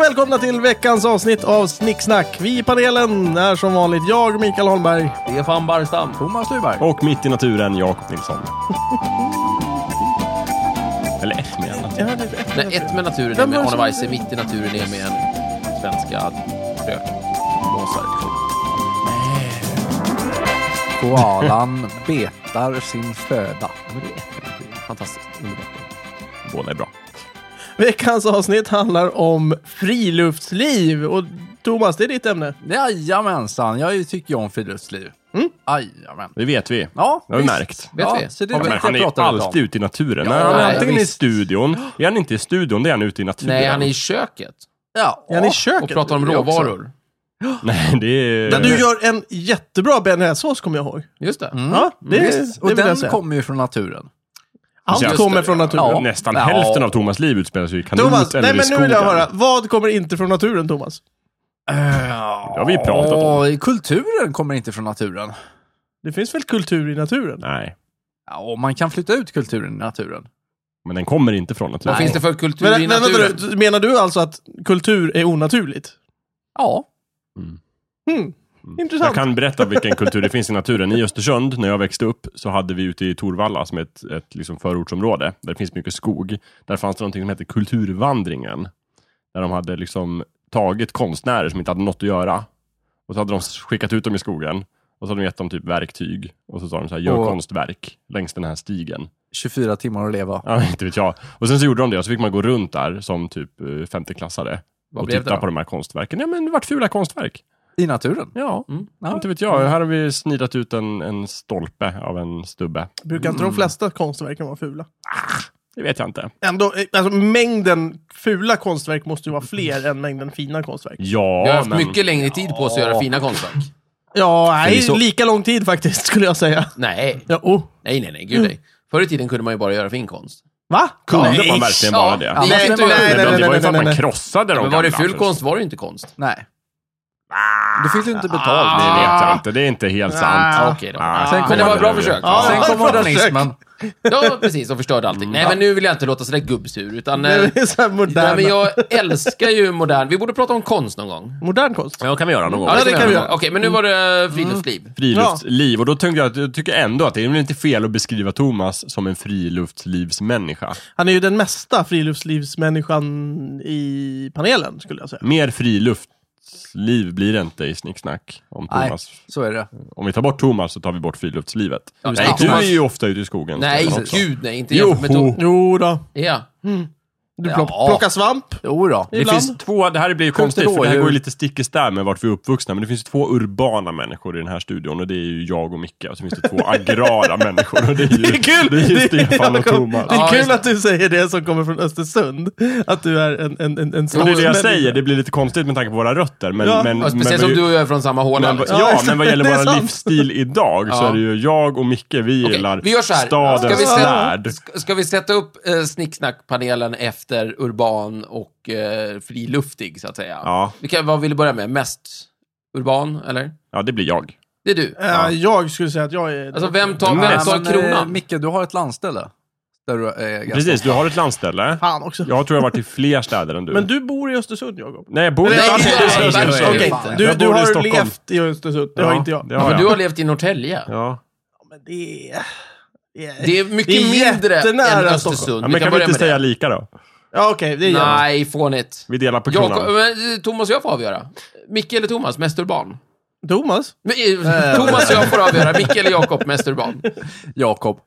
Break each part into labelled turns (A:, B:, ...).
A: välkomna till veckans avsnitt av Snicksnack. Vi i panelen är som vanligt jag, Mikael Holmberg.
B: Stefan Barstam.
C: Thomas Lyberg.
D: Och mitt i naturen, Jakob Nilsson. Eller ett med en.
A: Jag hörde det.
B: Nej, ett med naturen är
A: Vem
B: med
A: var det som-
B: Arne Weise, mitt i naturen är med en svenska rökmåsar.
C: Koalan betar sin föda.
B: Fantastiskt. Underbart.
D: Båda är bra.
A: Veckans avsnitt handlar om friluftsliv. Och Thomas, det är ditt ämne.
C: Jajamensan, jag tycker ju om friluftsliv. Jajamän.
D: Det vet vi.
C: Ja,
D: Det har vi
C: visst.
D: märkt.
B: Mm. Vet
C: ja,
B: vi?
C: Så det
B: Ja,
C: vet
D: Men
C: jag
D: han är ju
C: pratar om.
D: alltid ute i naturen.
B: Ja,
D: Nej, han är
B: nej,
D: antingen i
B: visst.
D: studion, är han inte i studion, det är han ute i naturen.
B: Nej, han är i köket
C: Ja,
A: Är ni i
B: och
A: köket?
B: pratar om
C: det är också.
B: råvaror.
D: Nej, det är...
A: Men du gör en jättebra bearnaisesås kommer jag ihåg.
B: Just det.
C: Mm.
B: Mm.
A: Ja, det,
C: Visst.
A: det
C: Och
A: vill jag
C: den
A: säga.
C: kommer ju från naturen.
A: Allt
D: Just
A: kommer
B: det,
A: från
B: ja.
A: naturen.
C: Ja.
D: Nästan
C: Ja.
D: hälften av Thomas liv utspelar sig i kanot
A: Thomas,
D: eller
A: nej
D: i
A: men nu
D: skogen.
A: vill jag höra. Vad kommer inte från naturen, Thomas?
C: Ja,
D: har vi pratat om.
C: Kulturen kommer inte från naturen.
A: Det finns väl kultur i naturen?
D: Nej,
C: Ja, och man kan flytta ut kulturen i naturen.
D: men den kommer inte från naturen.
B: Vad finns det för kultur
A: Men,
B: i
A: men, vänta,
B: naturen?
A: du, menar du alltså att kultur är onaturligt?
C: Ja.
A: Hmm. Intressant.
D: Jag kan berätta vilken kultur det finns i naturen. I Östersund, när jag växte upp, så hade vi ute i Torvalla, som är ett, ett liksom förortsområde, där det finns mycket skog. Där fanns det någonting som hette Kulturvandringen. Där de hade liksom tagit konstnärer som inte hade något att göra. Och så hade de skickat ut dem i skogen. Och så hade de gett dem typ verktyg. Och så sa de så här, gör
C: Och-
D: konstverk längs den här stigen.
C: 24 timmar att leva.
D: Ja, inte vet jag. Och sen så gjorde de det och så fick man gå runt där som typ eh, 50-klassare.
B: Vad
D: Och
B: blev det
D: titta
B: då?
D: på de här konstverken. Ja, men det vart fula konstverk.
C: I naturen.
D: Ja,
C: Ja.
D: Mm. inte vet jag. Här har vi snidat ut en, en stolpe av en stubbe.
A: Brukar inte
D: Mm.
A: de flesta konstverken vara fula?
D: Det vet jag inte.
A: Ändå, eh, alltså, mängden fula konstverk måste ju vara fler än mängden fina konstverk.
D: Ja,
B: Jag har haft
D: men...
B: mycket längre tid på oss att göra fina konstverk.
A: Ja, nej,
B: Förvisso.
A: lika lång tid faktiskt skulle jag säga.
B: Nej,
A: Ja, oh.
B: nej, nej, nej, gud nej. Förr i tiden kunde man ju bara göra fin konst.
A: Va?
D: Kunde
A: Nej.
D: man verkligen bara
B: Ja,
D: det?
B: ja,
D: Ja,
A: Nej,
B: men-
A: nej, nej, nej, nej,
D: det
A: nej,
D: var ju
A: nej,
D: för att
A: nej,
D: man
A: nej.
D: krossade de
B: Men var det
D: gamla,
B: ful
D: för-
B: konst var det ju inte konst.
C: Nej. Du fick ju inte betalt.
D: Ah. Det vet jag inte. Det är inte helt sant.
A: Ah.
B: Okej då.
D: Ah.
C: Sen
B: Men det
C: kommer-
B: var ett bra försök.
A: Ja,
C: Sen
A: det var
C: kom
A: ett bra
C: modernismen.
B: Ja, precis. Och förstörde allting. Nej, men nu vill jag inte låta sådär gubbsur. Utan, eh,
A: Det är så här
B: nej,
A: modern,
B: men jag älskar ju modern... Vi borde prata om konst någon gång.
A: modern konst.
D: Ja, kan vi göra Mm. någon gång.
A: Ja, det kan vi
B: någon
A: göra.
B: gång. Okej, men nu var det eh, friluftsliv.
D: Friluftsliv. Och då tänkte jag att jag tycker ändå att det är väl inte fel att beskriva Thomas som en friluftslivsmänniska.
A: Han är ju den mesta friluftslivsmänniskan i panelen, skulle jag säga.
D: Mer friluftsliv blir det inte i Snicksnack om
C: Nej,
D: Thomas.
C: så är det.
D: Om vi tar bort Thomas så tar vi bort friluftslivet.
B: Ja,
D: Nej,
B: ja.
D: du är
B: Thomas-
D: ju ofta ute i skogen.
B: Nej,
D: Stefan, också.
B: gud nej. Inte
D: Jo.
B: jämfört med Tom.
A: Jo då.
B: Ja.
A: Du
C: Ja.
A: plock, plockar svamp
C: Jo då.
D: Det
A: ibland.
D: finns två, det här blir ju
C: Skjuter
D: konstigt för det här
C: rådjur.
D: går ju lite stick i stäv med vart vi är uppvuxna, men det finns ju två urbana människor i den här studion och det är ju jag och Micke och så finns det två agrara människor och det är ju,
A: Det är kul!
D: Det är ju Stefan och
A: jag kom-
D: Thomas.
A: Det är
B: Ja, just
A: kul
B: det.
A: att du säger det som kommer från Östersund. Att du är en, en, en, en
D: Och det är det jag
A: stadsmänniska.
D: säger, det blir lite konstigt med tanke på våra rötter, men...
A: Ja,
D: men,
B: Och
D: men,
B: speciellt
D: men,
B: alltså, som du och jag är från samma håla.
D: men,
B: Liksom.
D: ja,
A: exakt,
D: men vad gäller
A: det är
D: vår
A: sant.
D: livsstil idag så
B: Ja.
D: är det ju jag och Micke, vi gillar
B: vi gör så här. Ska
D: stadens
B: vi sätta-
D: värld.
B: Ska- Ska vi sätta upp eh, snicksnackpanelen efter urban och eh, friluftig, så att säga?
D: Ja.
B: Vilka, vad vill du börja med? Mest urban, eller?
D: Ja, det blir jag.
B: Det är du.
A: Eh, Jag skulle säga att jag är...
B: Alltså, vem tar,
D: Nej,
B: vem tar
C: men, eh,
B: kronan?
C: Micke, du har ett landställe. Där du är ganska-
D: Precis, du har ett landställe.
A: Fan också.
D: Jag tror jag har varit i fler städer än du.
A: Men du bor i Östersund, Jakob.
D: Nej, jag bor
A: Nej,
B: det
D: inte
B: gör jag
D: i
B: inte.
D: Stockholm.
B: Okej.
C: fan.
A: Du,
D: Jag
A: du
D: bor i
A: har
D: Stockholm.
A: levt i Östersund. Det har
D: Ja,
A: inte jag.
D: det
B: Ja,
D: har
B: men du
D: jag.
B: har levt i Norrtälje.
D: Ja.
A: Men det är... Det är,
B: Det är mycket
A: Det är
B: mindre än
A: jättenära
B: Östersund.
D: Ja, men kan vi
B: börja
D: inte
B: med
D: säga
B: det.
D: lika då?
A: Ja, okej. det är jag.
B: Nej, fånigt.
D: Vi delar på kronan.
B: Jag, men, eh, Thomas och jag får avgöra. Micke eller Thomas, mest urban?
A: Thomas?
B: Men, eh, Thomas och jag får avgöra. Micke eller Jakob, mest urban?
C: Jakob.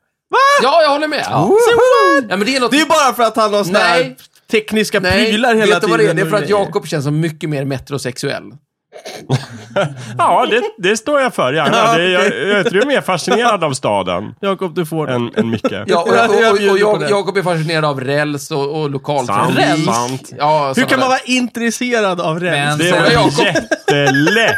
B: Ja, jag håller med. Ja, men det är något...
A: Det är bara för att han har såna här
B: Nej.
A: tekniska prylar hela
B: vet du
A: tiden.
B: vad det är? Det är
A: och
B: för att
A: grejer.
B: Jakob känns som mycket mer metrosexuell.
D: Ja, det, det står jag för
A: Ja,
D: gärna. Det, jag,
A: okej.
D: jag tror jag är mer fascinerad av staden
A: Jakob, du får den.
D: än, än Micke.
B: Ja, och,
A: Jag- jag
B: och, och,
A: bjuder
B: och
A: på det.
B: jag, Jakob är fascinerad av räls och, och
D: Sant,
B: lokaltrafik.
A: Räls?
D: sant.
B: Ja,
A: Hur
B: sådana
A: kan man
B: där.
A: vara intresserad av räls?
C: Men-
D: Det
B: Så
D: var
B: Jakob-
D: jättelätt.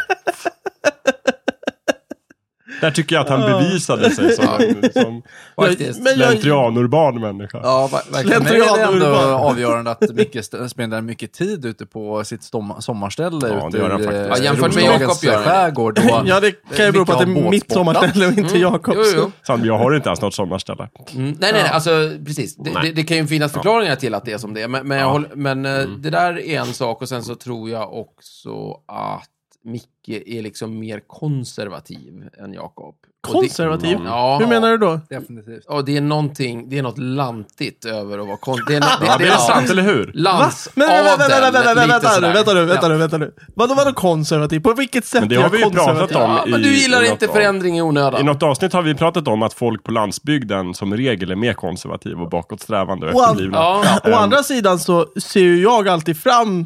D: Där tycker jag att han bevisade sig som, som
B: Faktiskt.
A: Men jag-
D: slentrianurban människa.
C: Ja, ver- verkligen. Men det
A: Slentrian
C: är ändå
A: urban.
C: avgörande att Micke st- spenderar mycket tid ute på sitt stom- sommarställe
D: Ja,
C: ute
D: det gör han
C: i
D: faktiskt.
C: eh,
D: Ja,
B: jämfört med
C: Roslagens
B: Jakob gör han det.
C: skärgård. då han-
A: Ja, det kan ju bero på att det
C: Micke har
A: är mitt
C: båtsportat.
A: sommarställe och inte Jakobs.
B: Mm. Jo, jo.
D: Sandby, jag har inte ens något sommarställe.
B: Mm. Nej, nej, nej, alltså precis. Det,
D: Nej.
B: Det, det kan ju finnas förklaringar till att det är som det är. Men, men, jag håller, men eh,
D: Mm.
B: det där är en sak och sen så tror jag också att Micke är liksom mer konservativ än Jakob. Och
A: Konservativ?
B: Det, ja,
A: Hur menar du då?
C: Definitivt.
B: Ja, det är någonting, det är något lantigt över att vara konservativ. Det är,
D: Ja,
B: no-
D: det är sant, eller hur?
A: Va?
B: Lans
A: Men
B: av
A: vänta, vänta,
B: den,
A: vänta,
B: lite
A: vänta, vänta,
B: sådär.
A: nu, vänta nu, vänta
B: Ja.
A: nu, vänta nu. Vadå, vadå konservativ? På vilket sätt
D: Men det
A: är
D: har
A: jag
D: vi ju pratat
A: konservativ?
D: om.
B: Ja, men du
D: I-
B: gillar
D: i
B: inte
D: något
B: förändring i
D: I
B: onödan.
D: något avsnitt har vi pratat om att folk på landsbygden som regel är mer konservativa och bakåtsträvande och
A: Wow.
D: efterblivna.
B: Ja. ehm.
A: Å andra sidan så ser ju jag alltid fram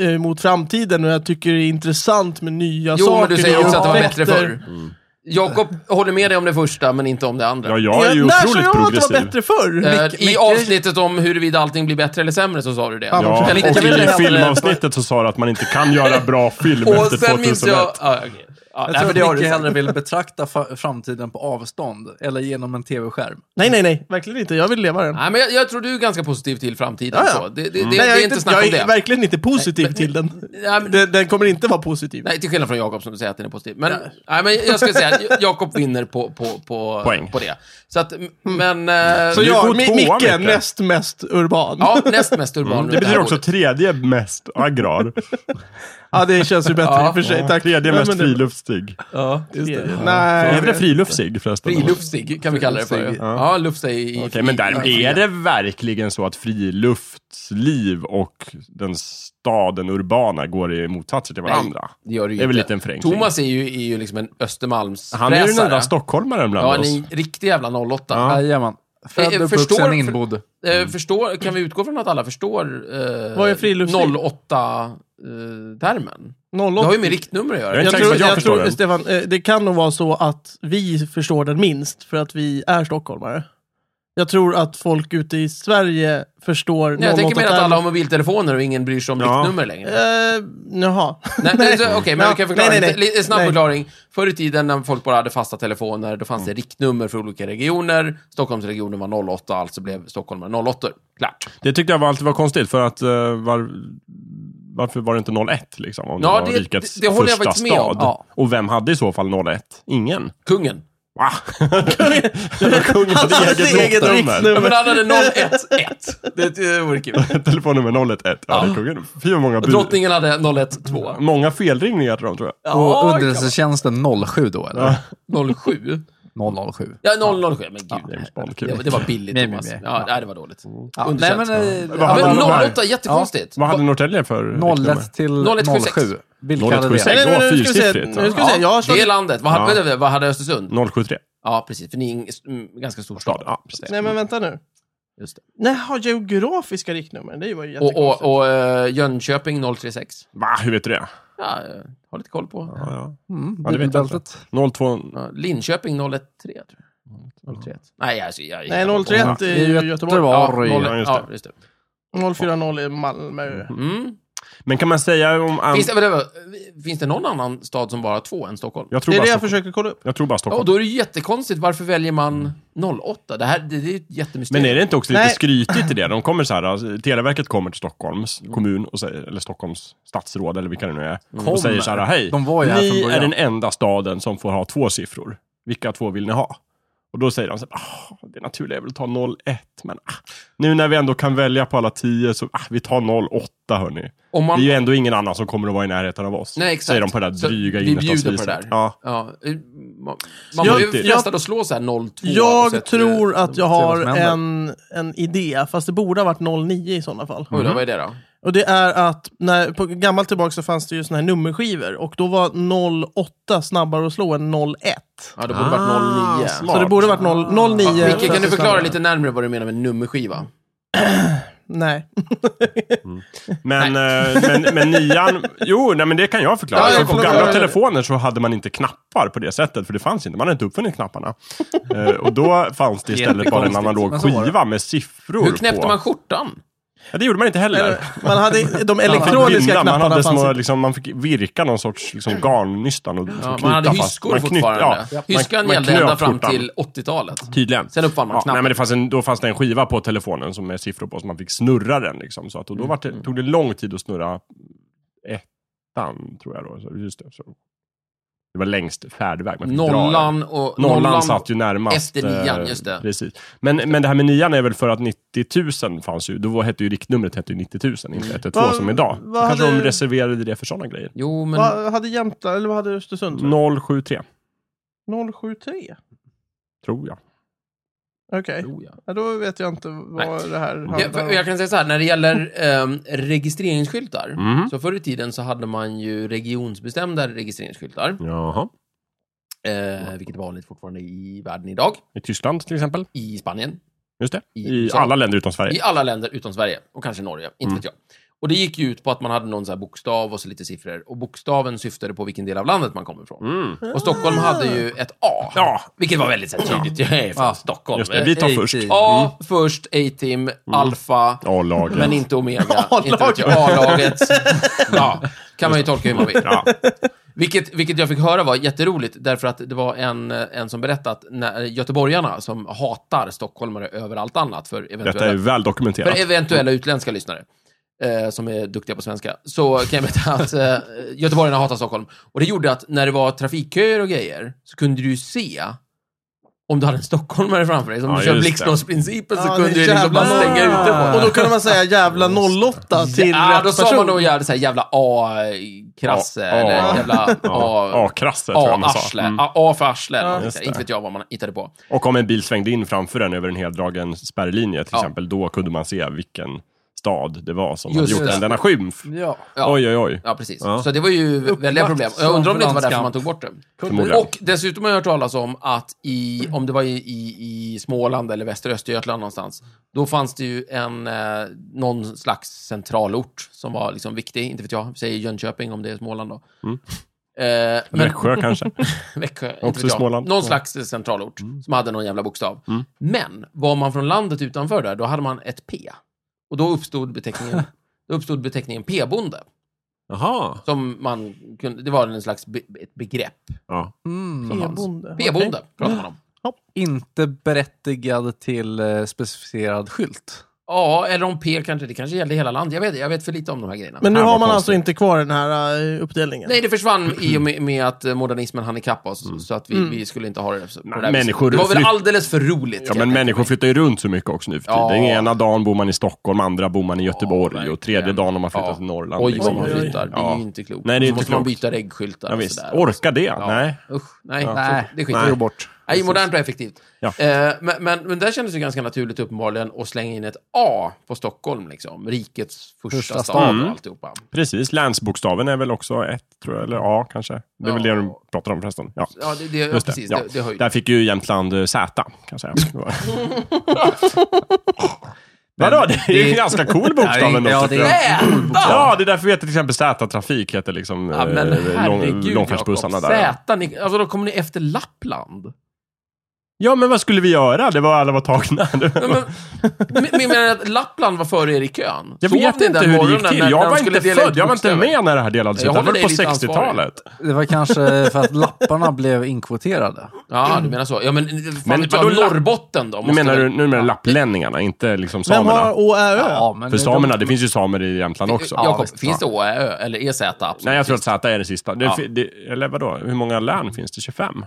A: eh, mot framtiden och jag tycker det är intressant med nya
B: Jo,
A: saker.
B: men du säger
A: nya
B: också att det var bättre
A: upptäckter.
B: förr. Jakob håller med dig om det första, men inte om det andra.
D: Mm. Ja, jag är ju
A: när sa
D: otroligt
A: jag att det var
D: progressiv.
A: bättre förr?
B: Eh,
A: Micke-
B: I
A: Micke-
B: avsnittet om huruvida allting blir bättre eller sämre så sa du det.
A: Ja,
D: Ja,
A: Eller
D: och
A: kan vi
D: i
A: lämna-
D: filmavsnittet så sa du att man inte kan göra bra film
B: Och
D: efter
B: sen
D: 2001.
B: minns jag... Ja, okej. ja,
C: Jag
B: nej, men det
C: tror
B: har
C: att
B: du
C: Micke
B: sagt.
C: hellre vill betrakta fa- framtiden på avstånd, eller genom en tv-skärm.
A: Nej, nej, nej. Verkligen inte. Jag vill leva den.
B: Nej, men jag, jag tror du är ganska positiv till framtiden.
A: Ja, ja.
B: Så. Det, det, det,
A: Nej, jag
B: det är inte snack om
A: jag är
B: det.
A: verkligen inte positiv till den.
B: Nej, men,
A: den. Den kommer inte vara positiv.
B: nej, till skillnad från Jakob som du säger att den är positiv. Men, nej, men jag skulle säga att Jakob vinner på, på, på,
D: Poäng.
B: på det. Så att,
A: Mm.
B: men... eh,
A: Så
D: Du
A: jag,
D: går
A: Mi-
D: tvåa,
A: Micke,
D: Micke.
A: näst mest urban. Ja.
B: Ja, näst mest urban.
D: Mm, Det betyder också tredje mest agrar.
A: det känns ju bättre i
B: Ja.
A: och för sig. Tack.
D: Tredje
A: Ja,
D: mest
A: men det-
D: friluftstig.
B: Ja,
A: Nej.
D: Är det friluftsig förresten?
B: Friluftsig kan vi kalla det för.
C: Friluftsig,
B: Ja, luftsig i...
D: Okej, men där
B: i-
D: är det verkligen så att friluftsliv och den staden urbana går i motsatser till varandra?
B: Det gör ju
D: Det är väl
B: inte.
D: lite en förenkling.
B: Thomas är ju, är ju liksom en Östermalmsfräsare.
D: Han är ju den enda stockholmaren bland
B: Ja,
D: oss.
B: en riktig jävla 08.
D: Ja.
C: Jajamän.
B: Eh, eh,
C: Född,
B: förstår-
C: uppvuxen, inbodd.
B: Eh, förstår, kan vi utgå från att alla förstår eh,
A: Vad är friluftsliv?
B: 08-termen?
A: Noll
B: det har ju
A: åtta.
B: med riktnummer att göra.
D: Jag är
A: Jag
D: inte
A: tror,
D: säker på att jag
A: jag
D: förstår
A: tror
D: den.
A: Stefan, eh, det kan nog vara så att vi förstår den minst för att vi är stockholmare. Jag tror att folk ute i Sverige förstår
B: Nej, jag tänker
A: 088
B: mer att alla har mobiltelefoner och ingen bryr sig om
D: Ja.
B: riktnummer längre.
A: Eh, jaha.
B: Nej, men så- Okej, men
A: Ja.
B: vi kan förklara.
A: Nej, nej,
B: lite-
A: nej.
B: Lite snabb
A: Nej.
B: förklaring. Förr i tiden när folk bara hade fasta telefoner, då fanns det riktnummer för olika regioner. Stockholmsregionen var 08, alltså blev Stockholm 08. Klart.
D: Det tyckte jag var alltid var konstigt, för att eh, var, varför var det inte 01 liksom? Om det
B: Ja,
D: var
B: det-
D: rikets
B: det- det håller jag
D: första
B: faktiskt med om.
D: stad.
B: Ja.
D: Och vem hade i så fall 01? Ingen.
B: Kungen.
D: Va? Kungen
A: Han hade
D: hade
A: sitt eget
D: eget riktnummer.
B: Ja,
A: riktnummer.
B: men han hade 011. Det, det vore kul.
D: Telefonnummer 011. Ja, det är kungen. Fy vad många bud.
B: Drottningen hade 012.
D: Många felringningar till dem, tror jag.
C: Och underrättelsetjänsten 07 då, eller?
B: 07?
C: 007.
B: Ja, 007. Men gud.
D: James Bond, kul.
B: Det, var- det var billigt,
C: Nej,
B: Thomas.
C: nej, nej.
B: Ja, nej, det var dåligt.
C: Ja, nej,
B: Underkänt.
C: men, eh,
D: Vad
B: Ja,
D: hade
B: men
D: de här?
B: 08, jättekonstigt.
D: Vad hade Norrtälje för riktnummer?
C: 01 till
B: 0176.
C: 07. Vilka hade det?
D: 0176.
A: Nej, nej, nej, nu ska vi se.
D: Fyrsiffrigt,
A: Nu ska vi
B: Ja,
A: se. Jag har
B: det är
A: slagit...
B: landet. Vad hade,
D: Ja.
B: vänta, vad hade Östersund?
D: 073.
B: Ja, precis. För ni är en s- mm, ganska stor stad.
D: Stad. Ja, precis.
A: Nej, men vänta nu.
B: Just det.
A: Nej, har geografiska riktnummer. Det var ju
B: Och,
A: jättekonstigt.
B: och, och eh, Jönköping 036.
D: Va? Hur vet du det?
B: Ja, eh, har lite koll på.
D: Ja,
C: Mm,
D: Ja, det vet jag inte.
C: bilbältet.
D: ja. 02...
B: Ja, Linköping 013, tror jag. 031. Nej, alltså, jag...
A: Nej, 031 är
C: I
A: ju Göteborg.
B: Ja,
C: Göteborg.
B: 0,
D: Ja, just det.
B: ja, just det.
A: 040 är Malmö.
B: Mm.
D: Men kan man säga om... an-
B: Finns, det, vänta, vänta, finns det någon annan stad som bara har två än Stockholm?
D: Jag tror
A: Det är
D: bara
A: det jag
D: Stockholm.
A: försöker kolla upp.
D: Jag tror bara
B: Ja, och
D: Stockholm.
B: då är det ju jättekonstigt. Varför väljer man 08? Det här det, det är ju ett jättemysterium.
D: Men är det inte också lite
A: Nej.
D: skrytigt i det? De kommer så här, alltså, Televerket kommer till Stockholms kommun, och säger, eller Stockholms stadsråd, eller vilka det nu är, och säger så här, hej,
C: De var ju här
D: ni
C: från
D: är
C: början.
D: den enda staden som får ha två siffror. Vilka två vill ni ha? Och då säger de så här, ah, det naturliga är väl att ta 01, men ah, nu när vi ändå kan välja på alla tio, så ah, vi tar 08 hörni.
B: Om man...
D: Det är ju ändå ingen annan som kommer att vara i närheten av oss.
B: Nej, exakt.
D: Säger de på det där
B: Så
D: dryga
B: vi bjuder på det
D: innerstadsviset.
B: där.
D: Ja.
B: Ja, eh, man man
A: Jag-
B: var ju frestad
A: jag-
B: att slå så här 02. och så
A: Jag
B: ett-
A: tror att jag
C: se vad
A: har
C: som händer.
A: en, en idé, fast det borde ha varit 09 i sådana fall.
B: Oj då, vad är det då?
A: Och det är att, när, på gammalt tillbaka så fanns det ju såna här nummerskivor och då var 08 snabbare att slå än 01.
B: Ja, det borde
D: Ah,
B: varit 09.
A: Så det borde varit 0, 09.
B: Ja, Micke, kan du förklara
A: Snabbare.
B: lite närmare vad du menar med nummerskiva?
A: Nej.
D: Men, eh, men, men nian, jo, nej, men det kan jag förklara.
A: Ja, ja,
D: För på
A: förlåt,
D: gamla
A: ja, ja.
D: telefoner så hade man inte knappar på det sättet, för det fanns inte. Man hade inte uppfunnit knapparna. Eh, och då fanns det istället bara en
C: Jättekonstigt,
D: analog
C: men så var det.
D: skiva med siffror
B: Hur knäppte
D: på.
B: man skjortan?
D: Ja, det gjorde man inte heller.
A: Man hade de
D: Man fick
A: elektroniska
D: binda, man,
A: knapparna
D: hade
A: fanns
D: små,
A: inte.
D: liksom, man fick virka någon sorts liksom, garnnystan och
B: Ja,
D: liksom,
B: man hade
D: knyta
B: hyskor
D: Man knyt-
B: fortfarande.
D: ja,
B: Hyskan
D: man- man
B: gällde
D: knöt
B: ända fram
D: skjortan.
B: till 80-talet.
D: Tydligen.
B: Sen uppfann man
D: Ja, nej,
B: knappen.
D: men det fanns en, då fanns det en skiva på telefonen som med siffror på, som man fick snurra den. Liksom, så att, och då var det, tog det lång tid att snurra ettan, tror jag. Då, så, just det, så. det var längst färdväg. Man fick dra den.
B: Nollan och...
D: Nollan, satt ju närmast.
B: efter nian,
D: eh,
B: just det.
D: Precis. Men, men det här med nian är väl för att 90 000 fanns ju, då var- hette ju riktnumret hette ju 90 000, inte 112
A: Vad-
D: som idag.
A: vad
D: Då kanske
A: hade-
D: de reserverade det för sådana grejer.
B: Jo, men...
A: Vad hade Jämtland, eller vad hade Östersund? tror
D: 073,
A: jag? 073?
D: tror jag.
A: Okej,
B: Tror jag.
A: ja, då vet jag inte vad
B: Nej.
A: det här
B: Ja,
A: handlar
B: för-
A: om.
B: jag kan säga så här, när det gäller ehm, registreringsskyltar.
D: Mm.
B: Så förr i tiden så hade man ju regionsbestämda registreringsskyltar.
D: Jaha.
B: Eh, vilket är vanligt fortfarande i världen idag.
D: I Tyskland till exempel.
B: I Spanien.
D: Just det. I,
B: I- så-
D: alla länder utom Sverige.
B: I alla länder utom Sverige. Och kanske Norge. Inte
D: Mm.
B: vet jag. Och det gick ju ut på att man hade någon så här bokstav och så lite siffror. Och bokstaven syftade på vilken del av landet man kom ifrån.
D: Mm.
B: Och Stockholm hade ju ett A.
D: Ja.
B: Vilket var väldigt så här, tydligt. Jag är från
C: Ja.
B: Stockholm.
D: Just det, vi tar
C: Eh,
D: först. Mm.
C: A-
B: A först, A-team, Alfa.
D: A-laget.
B: Men inte Omega.
A: A-laget.
B: Inte vet jag. A-laget. ja, kan man ju tolka hur man vill.
D: Ja.
B: Vilket, vilket jag fick höra var jätteroligt, därför att det var en, en som berättade att när, göteborgarna som hatar stockholmare över allt annat för
D: Detta är
B: eventuella,
D: väl dokumenterat.
B: för eventuella utländska lyssnare, eh, som är duktiga på svenska, så kan jag berätta att eh, göteborgarna hatar Stockholm. Och det gjorde att när det var trafikköer och grejer, så kunde du ju se om du hade en stockholmare framför dig, som
D: Ja,
B: du kör
D: just det.
B: blixtlåsprincipen, så
A: Ja,
B: kunde
A: det är
B: du ju liksom bara
A: jävla-
B: stänga ute folk.
A: Och då kunde man säga jävla 08 till
B: Ja,
A: rätt
B: då sa
A: person.
B: man nog ja, det så här jävla A-krasse,
D: Ja,
B: eller
D: ja.
B: jävla
D: Ja.
B: A...
D: A-krasse tror jag man sa.
B: A-arsle.
D: Mm.
B: A- A för arsle. eller något
D: Just
B: sånt.
D: det.
B: Inte vet jag vad man hittade på.
D: Och om en bil svängde in framför en över en heldragen spärrlinje till
B: Ja.
D: exempel, då kunde man se vilken stad det var som
B: Just
D: hade gjort
B: det.
D: den denna skymf.
C: Ja.
B: Ja.
D: Oj, oj, oj.
B: Ja, precis.
D: Ja.
B: Så det var ju väldiga problem. Jag undrar om det inte var därför man tog bort det.
D: Förmodligen.
B: Och dessutom har jag hört talas om att i, om det var i, i, i Småland eller Västra Östergötland någonstans, då fanns det ju en, eh, någon slags centralort som var liksom viktig. Inte vet jag, vi säger Jönköping om det är Småland då. Eh, men,
D: Mm. Växjö kanske?
B: Växjö, inte
D: Också
B: vet jag.
D: Småland.
B: Någon
D: Ja. Mm.
B: slags eh, centralort som hade någon jävla bokstav. Men var man från landet utanför där, då hade man ett P. Och då uppstod beteckningen, då uppstod beteckningen P-bonde.
D: Jaha.
B: Som man kunde, det var en slags be, ett begrepp.
D: Ja.
C: Mm.
A: P-bonde.
B: P-bonde pratar man om.
C: Inte berättigad till eh, specificerad skylt.
B: Ja, eller om P kanske, det kanske gällde hela landet. Jag vet, jag vet för lite om de här grejerna.
A: Men nu
D: Fan,
A: har
D: vad
A: man
D: konstigt.
A: alltså inte kvar den här eh, uppdelningen?
B: Nej, det försvann i och med, med att eh, modernismen hann ikapp oss, så att vi, vi skulle inte ha det på det här
D: Mm. människor
B: viset. Det var väl
D: flytt-
B: alldeles för roligt.
D: Ja,
B: kan jag
D: men
B: tänka
D: människor
B: mig.
D: flyttar ju runt så mycket också nu för
B: Ja.
D: tiden. Ena dagen bor man i Stockholm, andra bor man i Göteborg och tredje dagen har man flyttat
B: Ja.
D: till Norrland.
B: Oj, vad
D: liksom.
B: man flyttar. Det är
D: Ja.
B: ju inte klokt.
D: Nej, det är
B: Så
D: inte
B: måste man
D: klokt.
B: byta reggskyltar
D: Ja,
B: och
D: visst.
B: sådär.
D: Orka det?
B: Ja.
D: Nej.
B: Usch, nej.
C: Nej.
B: Så, det skiter
D: Nej.
B: vi
C: Tog
B: i.
C: bort.
B: Nej, modernt och effektivt.
D: Ja.
B: Eh, men, men, men där kändes det ganska naturligt uppenbarligen att slänga in ett A på Stockholm, liksom. Rikets första,
C: Första
B: stad
D: stad. Mm.
B: och alltihopa.
D: Precis. Länsbokstaven är väl också ett, tror jag. Eller A, kanske. Det är väl
B: Ja.
D: det de pratar om förresten. Ja.
B: Ja, det, det, ja
D: Just det,
B: precis.
D: ja.
B: Det, det, höjde.
D: Där fick ju Jämtland eh, Z, kan jag säga.
C: Men
D: Vadå? Det är ju
C: det-
D: en ganska cool bokstav ändå.
C: ja,
D: tycker
C: det
D: jag.
B: Zäta!
D: Ja, det är därför vi heter till exempel Z-trafik, heter liksom
B: Ja, men
D: eh, lång,
B: herregud,
D: långfärdsbussarna
B: Jakob.
D: där.
B: Zäta, ni, alltså då kommer ni efter Lappland.
D: Ja, men vad skulle vi göra? Det var alla var tagna.
B: Men, men, men, men, menar att Lappland var före er i kön?
D: Jag
B: Sov
D: vet
B: ni
D: inte
B: den
D: hur det
B: morgonen
D: gick till.
B: när-
D: Jag
B: när de
D: var
B: skulle
D: inte
B: dela ut
D: född, jag var inte
B: bokstäver?
D: med när det här delades ut.
B: Jag
D: Det här
B: håller
D: var
B: dig
D: på
B: lite
D: 60-talet.
C: Det var kanske för att lapparna blev inkvoterade.
B: Ja, du menar så. Ja, men,
D: Men
B: men vet jag,
D: vadå, Lapp-
B: Norrbotten då?
D: Nu
B: måste
D: menar
B: väl-
D: du nu menar du lapplänningarna, inte liksom
A: Vem
D: samerna.
A: har Å, Ä, Ö?
C: men
D: För samerna, det finns ju samer i Jämtland också.
B: Ja, Jakob,
C: visst.
B: finns det Å, Ä, Ö eller EZ? Absolut.
D: Nej, jag tror att Z är det sista. Det,
B: Ja.
D: fi- det, eller vadå? Hur många län finns det? 25?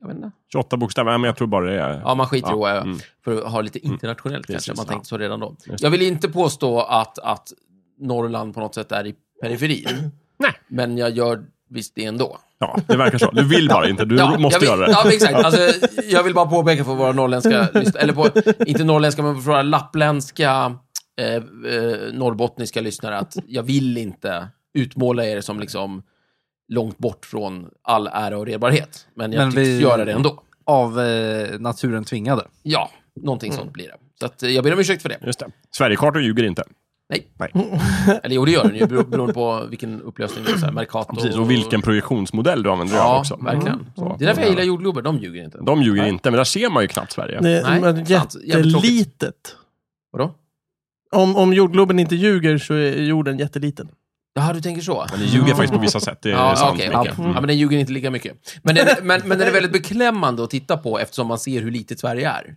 B: Jag vet inte.
D: 28 bokstäver? Nej, men jag tror bara det är...
B: Ja, man skiter i
D: Ja, mm.
B: Å, Ä, Ö. För att ha lite internationellt
D: Precis,
B: kanske, man
D: ja.
B: tänkte så redan då. Jag vill inte påstå att, att Norrland på något sätt är i periferin.
D: Nej.
B: Men jag gör visst det ändå.
D: Ja, det verkar så. Du vill bara inte. Du måste
B: jag vill,
D: göra det.
B: Ja, men exakt. Alltså, jag vill bara påpeka för våra norrländska, lyssn- eller på, inte norrländska, men för våra lappländska, eh, eh, norrbottniska lyssnare att jag vill inte utmåla er som liksom långt bort från all ära och redbarhet. Men jag
C: Men
B: tycks
C: vi-
B: göra det ändå.
C: Av eh, naturen tvingade.
B: Ja, någonting
C: Mm.
B: sånt blir det. Så att, eh, jag ber om ursäkt för det.
D: Just det. Sverigekartor ljuger inte.
B: Nej.
D: Nej.
B: Eller jo, det gör den ju, bero- beroende på vilken upplösning det är. Så här, Mercator
D: Precis, och vilken projektionsmodell du använder
B: Ja,
D: också. Mm.
B: verkligen.
D: Så.
B: Det är därför jag gillar jordglober, de ljuger inte.
D: De ljuger inte, men där ser man ju knappt Sverige.
A: Det är
B: Nej,
A: men
B: sant. Jävligt tråkigt.
A: jättelitet.
B: Vadå?
A: Om, om jordgloben inte ljuger så är jorden jätteliten.
B: Jaha, du tänker så?
D: Men det ljuger faktiskt på vissa sätt, det är Eh, sant.
B: okej,
D: Micke. Mm.
B: okej. ja, men den ljuger inte lika mycket. Men den, men, men den är väldigt beklämmande att titta på eftersom man ser hur litet Sverige är.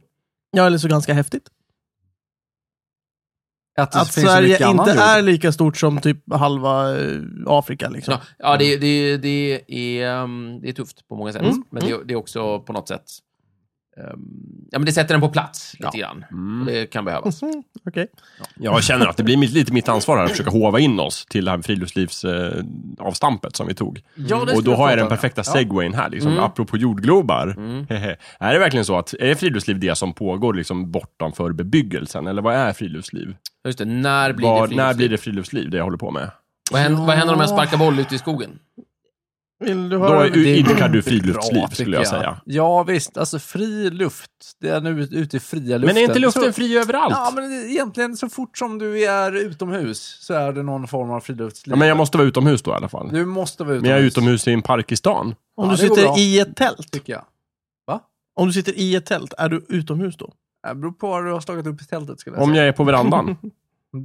A: Ja, eller så ganska häftigt.
C: Att, det
A: Att
C: finns så mycket
A: Sverige
C: annan
A: inte
C: jord.
A: är lika stort som typ halva eh, Afrika. Liksom.
B: Ja, ja det, det, det, är, ehm, det är tufft på många sätt,
A: Mm,
B: men det, det är också på något sätt... ehm, ja, men det sätter den på plats lite grann. Och Det kan behövas.
A: Mm, Okej.
D: Jag känner att det blir mitt- lite mitt ansvar här att försöka hova in oss till det här friluftslivsavstampet eh, avstampet som vi tog.
B: Ja,
D: Och då har jag den perfekta segwayn här, liksom, apropå jordglobar. är det verkligen så att, är det friluftsliv det som pågår liksom, bortanför bebyggelsen? Eller vad är friluftsliv?
B: Just det, när blir
D: Vad-
B: det
D: när blir
B: friluftsliv?
D: det friluftsliv, det jag håller på med?
B: Vad händer, vad händer om jag sparkar boll ute i skogen?
A: Vill du
D: Då
A: höra?
D: är-
C: det-
D: idkar du
C: Bra,
D: friluftsliv,
C: tycker
D: skulle jag säga.
C: Ja visst, alltså fri luft. Det är nu ute i fria luften.
D: Men är inte
C: Så-
D: luften fri överallt?
C: Ja, men egentligen så fort som du är utomhus så är det någon form av friluftsliv.
D: Ja, men jag måste vara utomhus då i alla fall.
C: Du måste vara utomhus.
D: Men jag är utomhus i en park i stan.
A: Om
C: Ja,
A: du
C: det går
A: sitter
C: bra.
A: i ett tält,
C: Tycker jag.
A: om du sitter i ett tält, är du utomhus då?
C: Det beror på var du har slagit upp i tältet skulle jag
D: Om
C: säga.
D: jag är på verandan.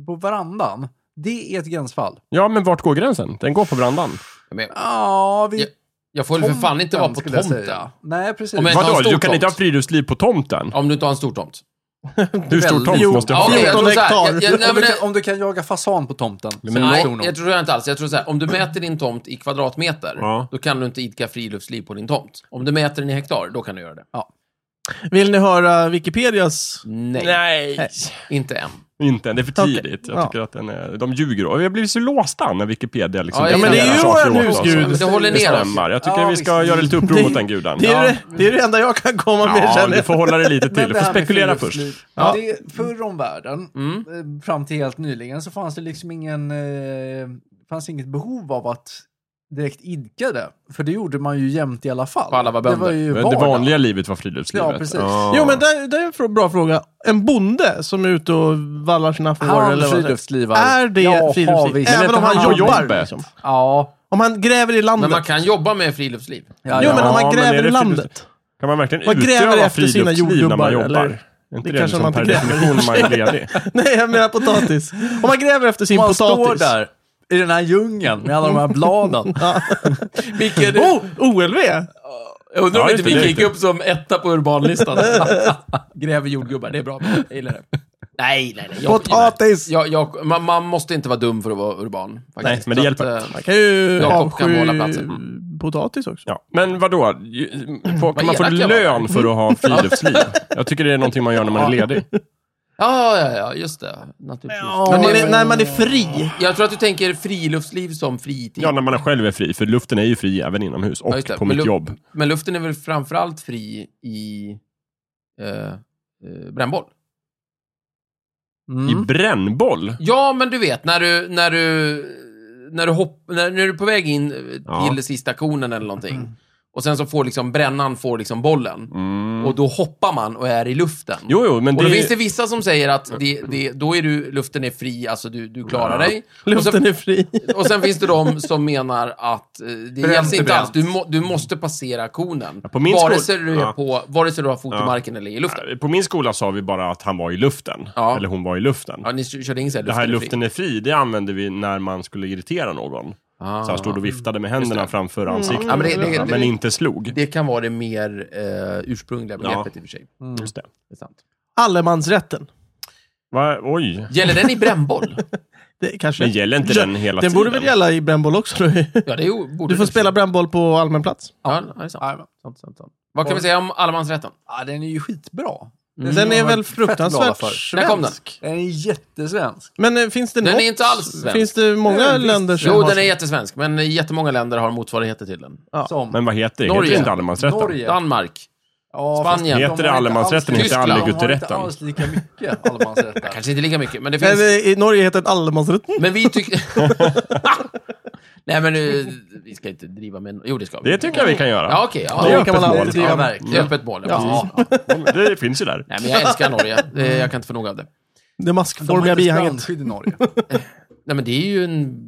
C: På verandan. Det är ett gränsfall.
D: Ja, men vart går gränsen? Den går på verandan.
B: Men jag-
C: Ja, vi...
B: Ja, jag får väl för fan inte vara på
C: skulle jag
B: tomten.
C: säga. Nej, precis.
B: Om jag-
D: Vadå,
B: har en stor
D: du kan
B: tomt.
D: inte ha friluftsliv på tomten?
B: Om du inte har en stor tomt.
D: Hur stor tomt
A: Jo,
D: måste jag
B: Ja,
D: ha?
B: okej, jag
A: 14
B: tror så här,
A: hektar.
B: jag- jag- nej,
C: om,
B: men
C: du
B: det-
C: kan, om du kan jaga fasan på tomten.
D: men
C: så är det
B: Nej,
C: stor nog.
B: jag tror jag inte alls. Jag tror så här, om du mäter din tomt i kvadratmeter,
D: Ja.
B: då kan du inte idka friluftsliv på din tomt. Om du mäter den i hektar, då kan du göra det.
A: Vill ni höra Wikipedias?
B: Nej,
A: Nej.
B: inte än.
D: Inte än, det är för
A: Okej,
D: tidigt.
A: ja.
D: Jag tycker att den är, de ljuger. Och vi har blivit så låsta när Wikipedia liksom
B: Ja, ja, men det är
D: definierar
B: ju
D: saker
A: vår
D: åt oss.
A: husgud.
B: Men det håller
D: Det
B: ner oss.
D: stämmer. Jag tycker
C: Ja,
D: vi ska
C: visst.
D: göra lite uppror
A: Det-
D: mot den guden.
A: Det är,
D: Ja,
A: det, det är det enda jag kan komma med
D: ja
A: känner
D: du
A: jag.
D: får hålla det lite till.
C: Men
D: Du
C: det
D: får
C: här med
D: spekulera först.
C: friluftsliv,
B: Ja.
C: Det, förr om världen,
B: Mm.
C: eh, fram till helt nyligen, så fanns det liksom ingen... Eh, fanns inget behov av att direkt idka det. För det gjorde man ju jämt i alla fall.
B: För alla var
C: det
B: bönder.
C: var ju
D: Men det
C: vardag.
D: vanliga livet var friluftslivet.
C: Ja, precis.
A: Jo men det, det är en fr- bra fråga. En bonde som är ute och vallar sina får
C: Han
A: eller vad det är.
C: friluftslivar.
A: Är det
C: Ja,
A: friluftsliv?
C: visst.
A: Även
C: Men
A: om
C: inte
A: han
D: han på
A: jobbar?
D: jobbet?
A: Liksom.
C: Ja.
A: Om han gräver i landet?
B: Men man kan jobba med friluftsliv.
C: ja,
A: jo
C: ja.
A: men om
D: Ja,
A: man
D: men är
A: gräver
D: det
A: i
D: frilufts-
A: landet?
D: Kan man verkligen
A: Man gräver
D: utöva
A: efter sina
D: friluftsliv när man
A: jordgubbar,
D: jobbar?
A: eller?
D: Är inte
A: Det
D: det,
A: kanske
D: liksom
A: man
D: per
A: inte gräver.
D: definition man är ledig?
A: Nej jag menar potatis. Om man gräver efter sin
C: Man
A: potatis.
C: står där i den här djungeln med alla de här bladen.
A: Ja.
B: Micke, du,
A: Oh, OLV!
B: jag undrar om
D: Ja,
B: inte
D: just det,
B: Micke
D: det
B: gick
D: är
B: upp som etta på urbanlistan. Gräver jordgubbar, det är bra. Jag gillar det. Nej, nej, nej. Jag,
A: Potatis!
B: jag, jag, man, man måste inte vara dum för att vara urban. Faktiskt.
D: men det
B: Så
D: hjälper.
B: Att, eh,
A: Man kan ju
B: Jakob kan
A: avsky
B: behålla platsen.
A: potatis också.
D: Ja. Men vadå? Ju- får- Kan man få
B: elaka jag
D: lön för att
B: Mm.
D: ha friluftsliv? Jag tycker det är någonting man gör när man är ledig.
B: ja, ja, ja, just det. Naturligtvis.
A: När
B: Men
A: man
B: det-
A: är, när man är fri.
B: Jag tror att du tänker friluftsliv som fritid.
D: Ja, när man själv är fri. För luften är ju fri även inomhus och
B: Ja, just det.
D: på
B: Men
D: mitt
B: lu-
D: jobb.
B: Men luften är väl framförallt fri i eh, eh, brännboll?
C: Mm.
B: Mm.
D: I brännboll?
B: Ja, men du vet, när du, när du, när du, hopp, när, när du är på väg in eh, till
D: Ja.
B: sista konen eller någonting. Och sen så får liksom brännan får liksom bollen.
D: Mm.
B: Och då hoppar man och är i luften.
D: Jo, jo, men
B: och då
D: det...
B: finns det vissa som säger att det, det, då är du, luften är fri, alltså du, du klarar
D: Ja.
B: dig. Och sen,
A: Luften är fri.
B: och sen finns det de som menar att eh, det gälls inte
C: bränt.
B: alls. Du, må, du måste passera konen.
D: på min
B: vare,
D: skol-
B: sig du är
D: Ja.
B: på, vare sig du har fot i
D: Ja.
B: marken eller i luften.
D: På min skola sa vi bara att han var i luften.
B: Ja.
D: Eller hon var i luften.
B: Ja, ni kö- körde in så här,
D: det här
B: är fri.
D: luften är fri, det använde vi när man skulle irritera någon.
B: Ah.
D: Så han stod och viftade med
B: Just
D: händerna
B: det. Mm.
D: framför ansiktet.
B: Ja, men det- det-
D: Ja,
B: det-
D: men inte slog.
B: Det kan vara det mer eh, ursprungliga begreppet i och för sig.
D: Just det.
B: Det är sant.
A: Allemansrätten.
D: Va? Oj.
B: Gäller den i brännboll?
A: Det kanske...
D: Men gäller inte
A: Ja,
D: den hela
A: Den
D: tiden?
A: borde väl gälla i brännboll också? Då.
B: Ja, det är ju- borde
A: Du får
B: det.
A: spela brännboll på allmän plats.
B: Ja, det är sant. sant, sant, sant. Vad kan vi säga om allemansrätten?
C: Ja, den är ju skitbra. Den
A: Den är väl
C: Fett glada
A: fruktansvärt
C: för.
B: När kom den?
A: svensk.
C: Den är jättesvensk.
A: Men eh, finns det
B: Den är
A: något?
B: inte alls svensk.
A: Finns det många
C: Ja, visst.
A: länder som
B: Jo,
A: har...
B: den är jättesvensk, men jättemånga länder har motsvarigheter till den.
A: Ja.
C: Som.
D: Men vad heter det? Heter
B: Norge.
D: det inte allemansrätten?
C: Norge.
B: Danmark.
C: Ja,
B: Spanien.
C: fast de har
D: Heter det
C: inte alls-
D: allemansrätten,
B: inte
C: Tyskland, De
D: allegutterätten?
C: har inte alls lika mycket allemansrätter.
B: Kanske inte lika mycket, men det
A: Nej,
B: finns...
A: det- I Norge heter det allemansrätten.
B: Men vi tycker... Nej, men nu, vi ska inte driva med... Jo, det ska vi.
D: Det tycker jag vi kan göra.
B: Ja, okej.
D: Det
B: ja,
D: är öppet
A: man
D: mål.
A: alltid
B: ja,
A: göra.
B: verkligen. Det är öppet mål. Ja.
A: Ja.
B: precis.
D: Det finns ju där.
B: Nej, men jag älskar Norge. Det, jag kan inte få nog av det.
A: Det
C: De har
A: maskformiga
C: inte
A: bihanget.
C: strandskydd i Norge.
B: Nej, men det är ju en...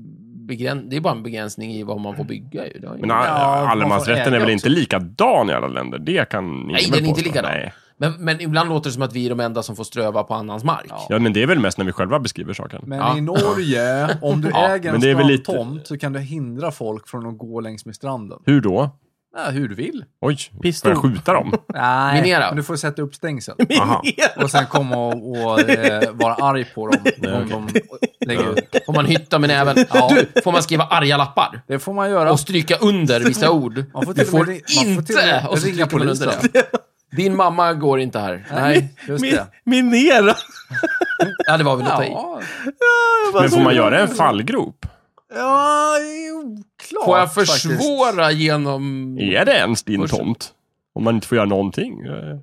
B: Begräns... Det är bara en begränsning i vad man får bygga ju. Det har ju-
D: Men
C: Ja,
D: all-
C: man får
D: allemansrätten
C: äga
D: är väl
C: också.
D: inte likadan i alla länder? Det kan ingen
B: Nej,
D: väl
B: den är inte
D: påstå.
B: likadan.
D: Nej.
B: Men, men ibland låter det som att vi är de enda som får ströva på annans mark.
C: Ja.
D: Ja, men det är väl mest när vi själva beskriver saken.
C: Men
B: Ja.
C: i Norge, om du
B: Ja,
C: äger en
D: men det är väl lite-
C: strandtomt så kan du hindra folk från att gå längs med stranden.
D: Hur då?
C: Ja, hur du vill.
D: Oj, får
A: Pistol.
D: jag skjuta dem?
C: Nej.
B: Minera.
C: Men du får sätta upp stängsel.
D: Aha.
C: Och sen komma och, och eh, vara arg på dem
D: Nej,
C: om de lägger ut.
B: Får man hytta med näven? Ja. Får man skriva arga lappar?
C: Det får man göra.
B: Och stryka under vissa ord?
C: Man får till
B: du
C: och med
B: får
C: ring- man får till och
B: inte!
C: med
B: Och så
C: ringa
B: trycker man under
C: polisen.
B: det. Din mamma går inte här. Nej.
C: Just
A: Min,
C: det.
A: minera!
B: Ja, det var väl att ta i.
C: Ja,
D: Men får man göra en fallgrop?
C: ja det är oklart
B: Får jag
C: faktiskt.
B: försvåra genom...
D: Är det ens din
B: Varsågod.
D: tomt? Om man inte får göra någonting? Eh,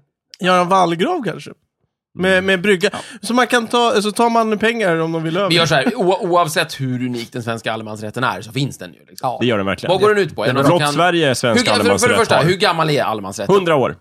A: Göra en vallgrav kanske. Med,
D: Mm.
A: med brygga. Så man kan ta, så tar man pengar om de vill över.
B: Vi gör så här, o- oavsett hur unik den svenska allemansrätten är, så finns den ju. Liksom.
C: Ja.
D: Det gör den verkligen.
B: Vad går den ut på? Är det någon som
D: Blott
B: kan-
D: Sverige är
B: hur, alltså,
D: svensk
B: för, för det
D: allemansrätt
B: första, hur
D: har.
B: gammal är allemansrätten?
D: 100 år?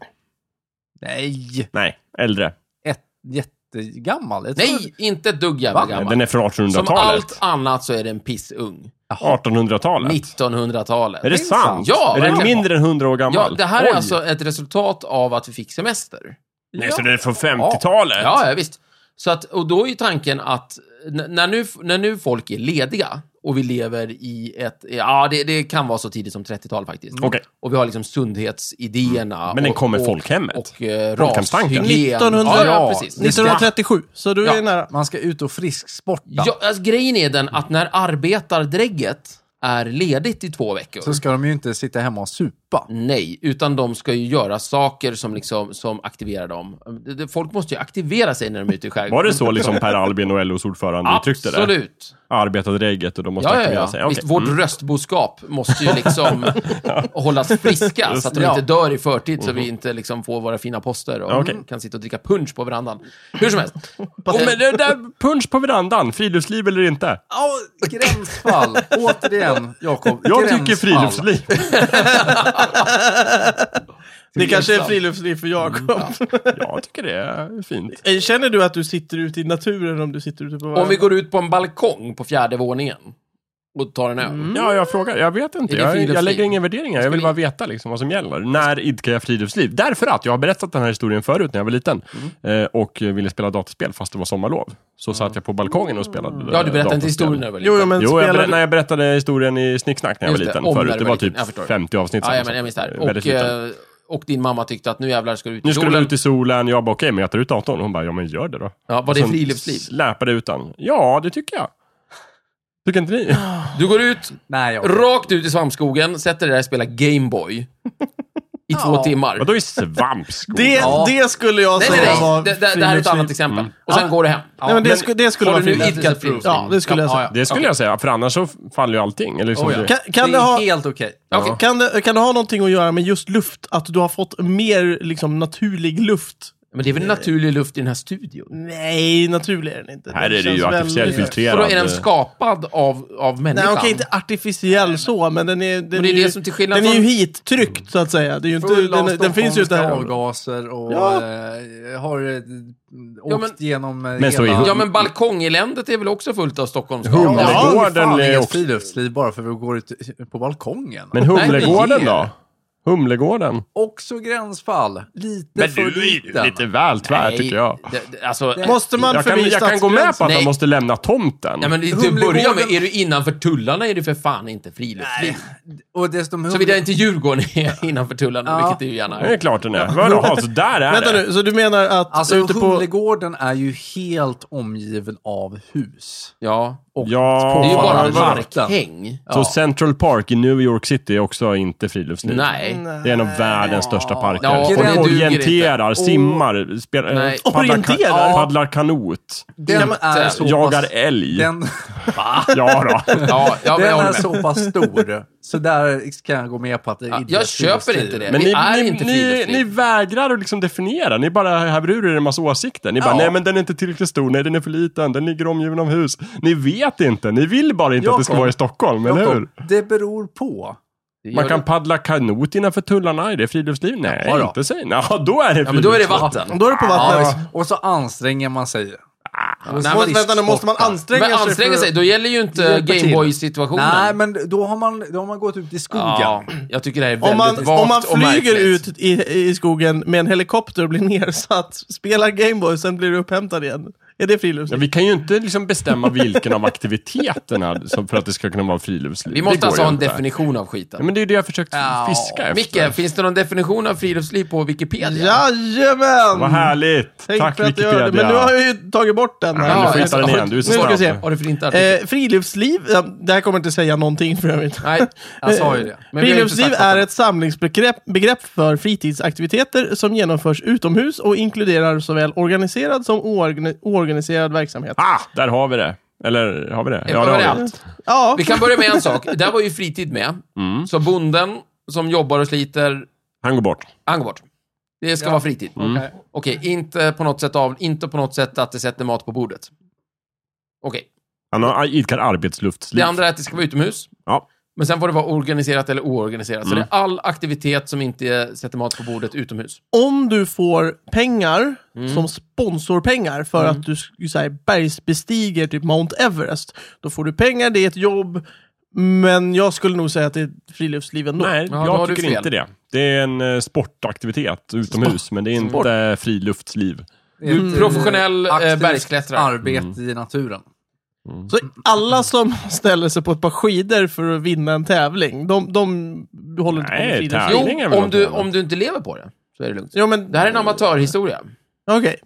C: Nej,
D: Nej, äldre.
C: ett, jättegammal. Jag tror-
B: Nej, inte ett dugg jävla
C: Va?
B: gammal.
D: Den är från
B: Som
D: 1800-talet.
B: allt annat så är den pissung.
D: 1800-talet.
B: 1900-talet.
D: Är det sant?
B: Ja,
D: är den
B: verkligen.
D: mindre än 100 år gammal?
B: Ja, det här är
D: Oj.
B: alltså ett resultat av att vi fick semester.
D: Nej, så den är från 50-talet?
B: Ja, ja visst. Så att, och då är ju tanken att n- när nu, när nu folk är lediga och vi lever i ett, ja det, det kan vara så tidigt som 30-tal faktiskt.
D: Mm. Okej. Mm.
B: Och vi har liksom sundhetsidéerna.
D: Men den
B: och,
D: kommer
B: och,
D: folkhemmet.
B: Och eh,
D: Folkhemstanken.
B: rashygien.
A: 1900
B: Ja, ja, precis.
A: 1937, så du
B: Ja.
A: är nära.
C: Man ska ut och frisksporta.
B: Ja, alltså, grejen är den att när arbetardrägget är ledigt i två veckor.
C: Så ska de ju inte sitta hemma och supa.
B: Nej, utan de ska ju göra saker som, liksom, som aktiverar dem. Det- det- Folk måste ju aktivera sig när de är ute i skärgården.
D: Var det så liksom Per Albin och LOs ordförande uttryckte det?
B: Absolut.
D: Arbetade regget och de måste
B: Ja, ja,
D: aktivera
B: ja.
D: sig? Okej. Mm.
B: Visst, vårt röstboskap måste ju liksom hållas friska så att de
C: det.
B: inte dör i förtid så vi inte liksom får våra fina poster och
D: Mm-hmm. Okej.
B: kan sitta och dricka punch på verandan. Hur som helst.
D: Och men det där punch på verandan, friluftsliv eller inte?
C: Ja, gränsfall. Återigen, Jakob.
D: Jag
C: gränsfall.
D: tycker friluftsliv.
A: Det kanske är friluftsliv för
D: Mm,
A: Jakob.
D: Jag tycker det är fint.
A: Eh, Känner du att du sitter ute i naturen om du sitter ute på
B: Om vi går ut på en balkong på fjärde våningen och tar en öl.
D: Ja, jag frågar. Jag vet inte.
B: Mm. Är det
D: Jag, jag
B: friluftsliv?
D: lägger inga värderingar. Jag vill
B: vi-
D: bara veta liksom vad som gäller. När idkar jag friluftsliv? Därför att jag har berättat den här historien förut när jag var liten
B: Mm.
D: eh, och ville spela dataspel fast det var sommarlov. Så satt jag på balkongen och spelade eh,
B: Ja, du berättade inte
D: dataspel.
B: historien när du var
A: Jo, jo, men
D: Jo, jag
A: spelar
D: berätt,
A: du-
D: när jag berättade historien i Snicksnack när jag
B: Just
D: var
B: det,
D: liten
B: om när
D: förut.
B: du
D: Det
B: var
D: var
B: liten.
D: typ
B: Jag förstår.
D: 50 avsnitt
B: Ja,
D: sen.
B: jag, men, jag minns det här.
D: Väldigt
B: Och,
D: liten.
B: eh, och din mamma tyckte att nu jävlar ska du ut i
D: Nu skulle du
B: solen.
D: ut i solen. Jag bara, okej, men jag tar ut datorn. Hon bara, ja men gör det då.
B: Ja, var det
D: Sen
B: friluftsliv?
D: Släpade ut den. Ja, det tycker jag. Tycker inte ni?
B: Du går ut,
C: Nej, Jakob.
B: rakt ut i svampskogen, sätter dig där och spelar Gameboy. I två
C: Ja.
B: timmar.
D: Vadå i svampskog?
A: Det,
C: Ja.
A: det skulle jag
B: Nej,
A: säga
B: nej,
A: var
B: nej. Det, det, det här är ett
A: friluftsliv.
B: annat exempel. Och sen går du hem.
A: Nej, men det,
D: Men-
A: sku, det skulle
B: Har
A: vara
B: du nu
A: friluftsliv.
B: idkat friluftsliv?
A: Ja, det skulle jag säga.
D: Det skulle jag säga, för annars så faller ju allting. Eller liksom
C: Oh, ja.
D: det...
A: Kan, kan
C: det
A: det
C: är
A: ha...
C: helt okej.
B: Okej.
A: Kan det, kan det ha någonting att göra med just luft? Att du har fått mer liksom, naturlig luft?
B: Men det är väl naturlig luft i den här studion?
A: Nej, naturlig är den inte.
D: Här
A: Den
D: är det ju
A: känns
D: artificiell
A: väldigt-
B: Och
D: filtrerad. eh,
B: då är den skapad av, av
A: Nej,
B: människan?
A: okej, inte artificiell så, men den är, den
B: Men det är
A: ju,
B: det som till skillnad
A: den är ju
B: från-
A: hittryckt, så att säga. Det är ju inte,
C: Full av
A: den, den finns ju
C: stockholmska
A: där.
C: avgaser och
A: Ja.
C: eh, har eh, åkt
B: Ja, men-
C: genom eh,
D: Men så
C: hela...
D: är-
B: Ja, men balkongeländet är väl också fullt av Stockholmsgatan?
D: Humlegården
A: Ja,
C: Ja, det är fan
D: är
C: inget
D: eh, också...
C: friluftsliv bara för att vi går ut på balkongen.
D: Men
B: Nej,
D: Humlegården
B: men-
D: då? Humlegården?
C: Också gränsfall. Lite
D: Men
C: för
D: du är ju
C: liten.
D: lite väl tvär
B: Nej,
D: tycker jag.
B: Det, det, alltså,
A: Måste man
D: Jag kan,
A: förbi
D: jag kan gå med på att
B: Nej.
D: man måste lämna tomten.
B: Nej, men det- till att
C: Humlegården-
B: börja med, är du innanför tullarna är du för fan inte friluftsliv.
C: Och dessutom
B: Såvida inte Djurgården är innanför tullarna,
C: Ja.
B: vilket det ju gärna
D: Det är
B: är.
D: klart den är. Vadå? Ja, Så där är
A: Vänta
D: det.
A: nu, så du menar att
C: Alltså,
A: ute på...
C: Humlegården är ju helt omgiven av hus.
B: Ja.
D: Ja,
B: Det är ju bara
D: men vadå?
B: markhäng.
D: Så Central Park i New York City är också inte friluftsliv?
B: Nej.
D: Det är en av världens största parker.
B: Ja,
D: Folk
B: det duger
D: orienterar, simmar, spelar, eh,
B: Nej.
D: paddlar, ka-
A: Orienterar?
D: paddlar kanot,
C: Den
B: äh,
C: är så
D: jagar
C: pass...
D: älg.
C: Den,
D: Ja då.
B: Ja, ja, men jag
C: den
B: håller
C: är
B: med.
C: så pass stor. Så där kan jag gå med på att det är
B: Ja,
C: idrott-
B: jag köper
C: friluftsliv.
B: inte det.
D: Men
B: det
D: ni,
B: är
D: ni,
B: inte
D: ni,
B: friluftsliv.
D: ni vägrar att liksom definiera. Ni bara häver ur er en massa åsikter. Ni bara,
B: Ja.
D: nej men den är inte tillräckligt stor, nej den är för liten, den ligger omgiven av hus. Ni vet inte, ni vill bara inte att det ska
C: Jakob.
D: vara i Stockholm, eller hur?
C: Jakob, det beror på.
D: Man kan paddla kanot innanför tullarna, är det friluftsliv? Nej,
B: Ja, då.
D: inte säg. Ja, då är det
B: Ja, men då är det
D: friluftsliv.
B: vatten.
A: Då är det på vattnet.
C: Och så anstränger man sig.
B: Nej,
A: Så måste- vänta, nu måste man anstränga
B: Men
A: sig.
B: anstränga
A: för-
B: sig, då gäller ju inte
C: Hjälpa till.
B: Gameboy-situationen.
C: Nej, men då har, man, då har man gått ut i skogen.
B: Ja, jag tycker det här är väldigt
A: Om man,
B: vagt
A: om man
B: och
A: flyger
B: märkligt.
A: ut i, i skogen med en helikopter och blir nersatt, spelar Gameboy, sen blir du upphämtad igen. Är det
D: Ja,
A: friluftsliv?
D: vi kan ju inte liksom bestämma vilken av aktiviteterna som- för att det ska kunna vara friluftsliv.
B: Vi
D: Det går
B: måste alltså
D: ju
B: ha en
D: inte.
B: definition av skiten.
D: Ja, men det är ju det jag försökt fiska efter.
B: Micke, finns det någon definition av friluftsliv på Wikipedia?
A: Jajamän!
D: Vad härligt!
A: Tänk
D: Tack
A: för att du gör
D: Wikipedia.
A: det. Men nu har jag ju tagit bort den. här.
B: Ja,
D: Ja, du får
B: jag-
D: hitta den
B: jag-
D: igen. Du är så
A: nu ska vi
D: snabb.
A: se.
B: Har du förintat artikeln?
A: Eh, friluftsliv, ja, det här kommer inte säga någonting för övrigt.
B: Nej, jag sa ju det. Men vi har ju inte
A: Friluftsliv
B: sagt något
A: är
B: om-
A: ett samlingsbegrepp begrepp för fritidsaktiviteter som genomförs utomhus och inkluderar såväl organiserad som oorgani- oorganiserad verksamhet.
D: Ah, där har vi det. Eller har vi det?
B: Var
D: har
B: det
D: vi.
B: allt?
A: Ja,
B: Vi kan börja med en sak. Där var ju fritid med.
D: Mm.
B: Så bonden som jobbar och sliter,
D: Han går bort.
B: han går bort. Det ska vara fritid.
A: Mm.
C: Okej.
B: Okej, inte på något sätt av, inte på något sätt att det sätter mat på bordet. Okej,
D: Han har, idkar
B: det
D: arbetsluftsliv.
B: andra är att det ska vara utomhus.
D: Ja.
B: Men sen får det vara organiserat eller oorganiserat. Så
D: Mm.
B: det är all aktivitet som inte sätter mat på bordet utomhus.
A: om du får pengar
B: Mm.
A: som sponsorpengar för
B: Mm.
A: att du sk- så här, bergsbestiger typ Mount Everest, då får du pengar, det är ett jobb, men jag skulle nog säga att det är friluftsliv ändå.
D: Nej,
B: Ja, då har
D: jag
B: du
D: tycker
B: fel.
D: inte det. Det är en eh, sportaktivitet utomhus, men det är inte friluftsliv.
C: Det är ett,
B: Mm. Professionell,
C: eh,
B: eh,
C: aktivt
B: bergsklättrare. Mm.
C: arbete i naturen.
A: Så alla som ställer sig på ett par skidor för att vinna en tävling, de, de håller inte på med
D: Nej,
A: friluftsliv.
B: Jo,
D: tävling. Tärning är väl
B: om du,
D: något annat.
B: om du inte lever på det så är det lugnt.
A: Jo, men
B: Det här är en
C: Mm.
B: amatörhistoria.
A: Okej.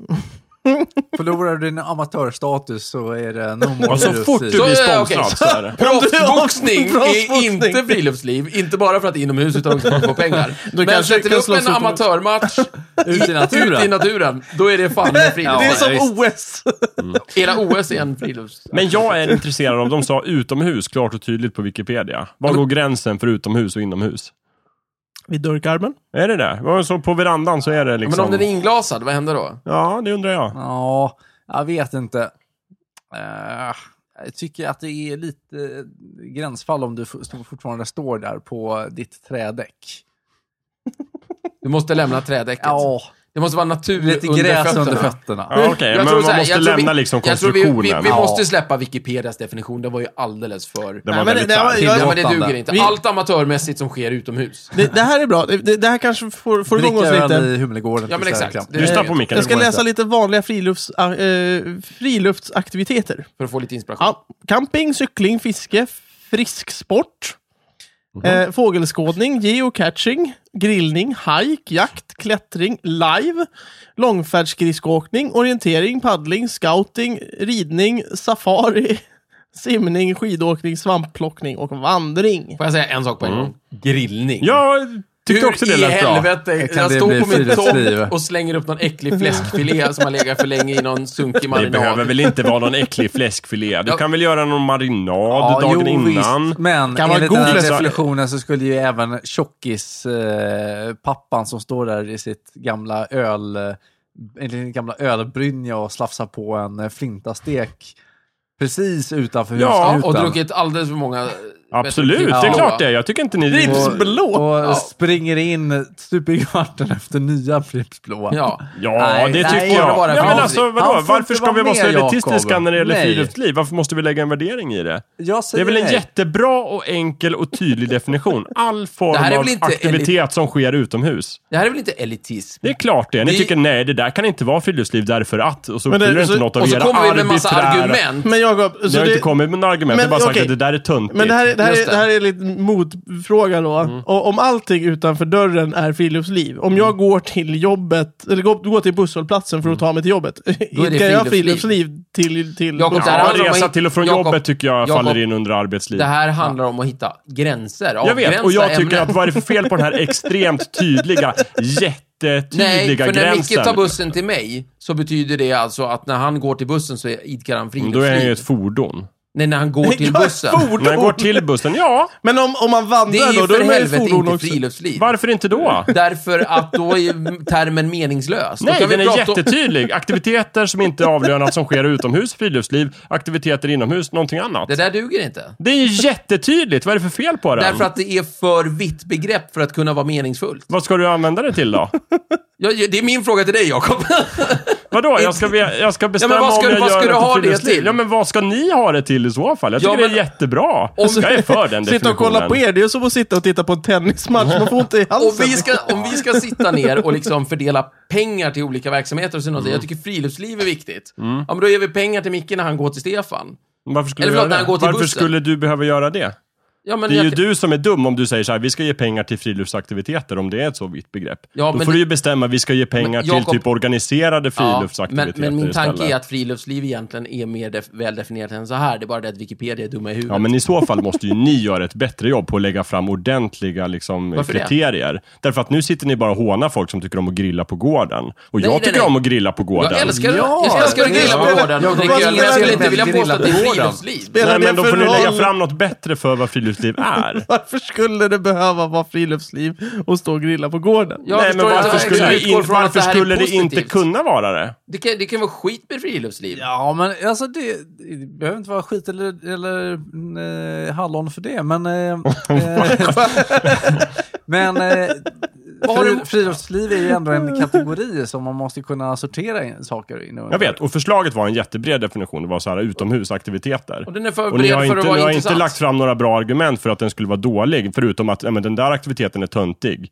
C: Förlorar du din amatörstatus så är det no more
D: Och så fort du
C: friluftsliv.
B: Så,
D: blir
B: eh,
D: sponsrad
B: okej.
D: så är det.
B: Proffsboxning är
A: Proffsboxning.
B: inte friluftsliv, inte bara för att det är inomhus utan också för att få pengar. Men
A: kanske
B: sätter
A: kan
B: du upp
A: slåss
B: en
A: utomhus.
B: amatörmatch
C: Ut i
B: ute i
C: naturen.
B: naturen, då är det fan med
A: det är
B: friluftsliv.
A: som
C: ja,
A: OS.
B: Hela OS är en friluftsliv.
D: Men jag är intresserad av, de sa utomhus klart och tydligt på Wikipedia. Var går gränsen för utomhus och inomhus?
A: Vid dörrkarmen.
D: Är det det? Vad Så på verandan så är det
B: Men om
D: liksom...
B: den är inglasad, vad händer då?
D: Ja, det undrar jag.
C: Ja, jag vet inte. Eh, jag tycker att det är lite gränsfall om du f- fortfarande står där på ditt trädäck.
B: Du måste lämna trädäcket.
C: Ja,
B: Det måste vara natur
C: lite gräs Liksom. under fötterna.
D: Ja, okej,
B: Jag
D: men
B: tror
D: man
B: så här,
D: måste
B: jag tror
D: lämna
B: vi-
D: liksom
B: Jag tror vi,
D: konstruktionen.
B: vi, vi
C: Ja.
B: måste släppa Wikipedias definition, den var ju alldeles för...
D: Den
A: Nej,
D: var
A: men
D: väldigt
A: det- det var-
D: sär.
B: Ja, men det
C: tillåtande.
B: duger inte.
A: Vi-
B: Allt amatörmässigt som sker utomhus.
A: Det, det här är bra. Det, det här kanske får, får igång oss
C: Dricka öl
A: lite.
C: i Humlegården.
B: Ja, men
C: till
B: exakt.
C: Sörkland.
B: Det-
D: Lyssna på Mikael.
A: Jag ska
D: det går
A: läsa lite vanliga frilufts, eh, friluftsaktiviteter.
B: För att få lite inspiration.
A: Ja, camping, cykling, fiske, frisksport,
D: Mhm.
A: eh, fågelskådning, geocaching, grillning, hike, jakt, klättring, live, långfärdsskridskoåkning, orientering, paddling, scouting, ridning, safari, simning, skidåkning, svampplockning och vandring.
B: Får jag säga en sak på en gång? Grillning.
D: inte. Mm. Jag tyckte också det
B: Hur i
D: lät bra.
B: helvete
C: Kan
B: jag
C: det
B: står
C: bli
B: på min
C: friluftsliv?
B: tomt och slänger upp någon äcklig fläskfilé som har legat för länge i någon sunkig
D: Det behöver
B: marinad.
D: väl inte vara någon äcklig fläskfilé. Du
B: Ja.
D: kan väl göra någon marinad dagen innan.
C: Visst. Men
A: Kan vara
C: enligt
A: god
C: den här
A: fläsk.
C: definitionen så skulle ju även tjockis-pappan eh, pappan som står där i sitt gamla öl eh, i sin gamla ölbrynja och slafsar på en eh, flintastek precis utanför
D: Ja,
B: Och
C: husknuten.
B: druckit alldeles för många... eh,
D: Absolut,
B: bättre
D: det är
B: dricks.
D: klart det är. Jag tycker inte ni...
A: Pripps blå!
C: och
B: Ja.
C: springer in stup i kvarten efter nya Pripps Blåa.
B: Ja.
D: Ja,
C: Nej,
D: det
C: nej, det
D: tycker jag.
B: får vara
D: Ja, men
B: vanligt.
D: alltså,
C: Han
D: vadå?
C: får
D: Varför
C: inte
D: ska vi
C: vara
D: vara så
C: med, Jakob.
D: elitistiska när det gäller
C: Nej.
D: friluftsliv? Varför måste vi lägga en värdering i det?
C: Jag
D: Det är
C: säger
D: väl en
C: nej.
D: jättebra och enkel och tydlig definition. All form
B: Det här är
D: av
B: väl inte
D: aktivitet som sker utomhus.
B: Det här är väl inte elitism?
D: Det är klart det. Ni
B: Vi-
D: tycker nej, det där kan inte vara friluftsliv därför att. Och så
A: Men det-
D: fyller inte
A: så-
D: något av
B: Och så
D: era
B: kommer vi med en massa
D: arbiträra-
B: argument.
A: Men Jakob,
D: Ni
A: så
D: har
A: det,
D: inte kommit med några argument,
A: Men,
D: men, bara sagt
A: okej.
D: att det där är töntigt.
A: men det här, är- det, här,
B: Just
A: är-
B: det. Mm.
A: det här är lite motfråga då. Och om allting utanför dörren är friluftsliv, om jag går till jobbet, eller går, går till busshållplatsen för att ta mig till jobbet,
B: Mm. Då är det
A: idkar jag
B: friluftsliv.
A: friluftsliv till... till
B: Jakob,
A: buss-
B: det här
D: Ja,
B: handlar om
D: resa
B: att-
D: till och från
B: Jakob,
D: jobbet tycker jag
B: Jakob,
D: faller in under arbetsliv.
B: Det här handlar om att hitta gränser.
D: Typ. jag vet, och
B: avgränsa
D: jag tycker
B: ämnen.
D: att vad är det för fel på den här extremt tydliga,
B: Nej,
D: jättetydliga
B: för när Micke
D: gränsen?
B: tar bussen till mig så betyder det alltså att när han går till bussen så är- idkar han
D: Mm,
B: friluftsliv.
D: Då är han ju ett fordon.
B: Nej, när han går till
A: Jag är
B: bussen.
A: fordon.
D: När han går till bussen, ja,
A: Men om, om man vandrar
B: Det är
A: då,
B: ju
A: då
B: för
A: är man ju
B: helvete
A: fordon
B: inte
A: också.
B: friluftsliv.
D: varför inte då?
B: Därför att då är ju termen meningslös. då
D: Nej,
B: kan vi
D: den är
B: prata om-
D: jättetydlig. Aktiviteter som inte är avlönat som sker utomhus, friluftsliv, aktiviteter inomhus, någonting annat.
B: Det där duger inte.
D: Det är ju jättetydligt, vad är det för fel på den?
B: Därför att det är för vitt begrepp för att kunna vara meningsfullt.
D: Vad ska du använda det till då?
B: Ja, ja, det är min fråga till dig, Jakob.
D: Vadå? Jag ska, be- jag ska bestämma
B: vad ska
D: om
B: du-
D: jag
B: vad ska
D: gör
B: du
D: något
B: ha
D: för
B: det
D: friluftsliv.
B: till?
D: Ja, men vad ska ni ha det till i så fall? Jag
B: Ja,
D: tycker
B: men-
D: det är jättebra. Jag är för den
A: Sitta och kolla på er, det är som att sitta och titta på en tennismatch. Man får ont i halsen.
B: Om
D: Alltså,
B: vi, ska, om vi ska sitta ner och liksom fördela pengar till olika verksamheter och så mm. jag tycker friluftsliv är viktigt.
D: Mm.
B: Ja, men då ger vi pengar till Micke när han går till Stefan.
D: Varför skulle,
B: Eller
D: du,
B: förlåt, när
D: göra det?
B: han går till
D: Varför
B: bussen.
D: skulle du behöva göra det?
B: Ja, men
D: Det
B: jag,
D: är ju du som är dum om du säger så här, vi ska ge pengar till friluftsaktiviteter, om det är ett så vitt begrepp.
B: Ja,
D: Då
B: men det-
D: får du ju bestämma, vi ska ge pengar
B: Men Jakob-
D: till typ organiserade
B: men,
D: friluftsaktiviteter
B: men min tanke
D: istället.
B: är att friluftsliv egentligen är mer def- väldefinierat än så här. Det är bara det att Wikipedia är dumma i huvudet.
D: Ja, men i så fall måste ju ni göra ett bättre jobb på att lägga fram ordentliga liksom,
B: Varför det?
D: kriterier. Därför att nu sitter ni bara och hånar folk som tycker om att grilla på gården. Och
B: nej,
D: jag tycker
B: nej.
D: om att grilla på gården.
B: Jag älskar,
C: Ja,
B: jag älskar att
A: det är
B: grilla
A: det.
B: på gården och
A: Jag
B: dricka öl, men jag skulle inte vilja
C: grilla
B: påstå att det
C: på
B: är
C: gården.
B: friluftsliv.
A: Spelar
D: Nej,
A: det
D: men då
A: för
D: får ni lägga
A: roll?
D: fram något bättre för vad friluftsliv är.
A: Varför skulle det behöva vara friluftsliv och stå och grilla på gården?
B: Jag
D: Nej, men
B: förstår inte
D: varför
B: att
D: skulle,
B: jag
D: det,
B: utgår
D: in,
B: från att
D: varför
B: det här är
D: skulle det inte
B: positivt.
D: kunna vara det?
B: Det kan, det kan vara skit med friluftsliv.
C: Ja, men alltså det, det behöver inte vara skit eller, eller eh, hallon för det, men... Eh, eh, men eh,
B: Vad har
C: fri,
B: du-
C: friluftsliv är ju ändå en kategori som man måste kunna sortera in saker in
D: Jag vet, och förslaget var en jättebred definition. Det var så här utomhusaktiviteter.
B: Och den är för
D: Och ni
B: bred
D: har,
B: för
D: inte,
B: att
D: ni har
B: vara
D: inte
B: intressant.
D: lagt fram några bra argument för att den skulle vara dålig, förutom att ja, men den där aktiviteten är töntig.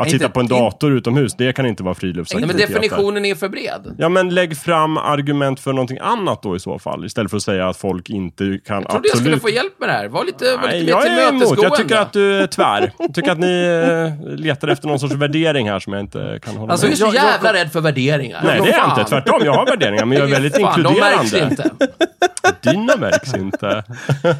D: Att
C: Inte-
D: sitta på en
C: inte-
D: dator utomhus, det kan inte vara
B: Nej, men
D: friluftsaktiviteter.
B: definitionen är för bred.
D: Ja, men lägg fram argument för någonting annat då i så fall, istället för att säga att folk inte kan
B: Jag trodde jag skulle
D: absolut...
B: få hjälp med det här. Var lite, var lite
D: Nej,
B: mer
D: jag är emot. Jag tycker
B: tillmötesgående.
D: att du är tvär. Jag tycker att ni eh, letar efter någon sorts värdering här som jag inte kan hålla
B: Alltså,
D: med
B: du
D: om.
B: är så
C: Jag- jag-
B: jävla rädd för värderingar.
D: Nej, det är jag
B: Fan.
D: inte. Tvärtom, jag har värderingar, men jag är väldigt
B: Fan, De märks
D: inkluderande.
B: inte.
D: Dina märks inte.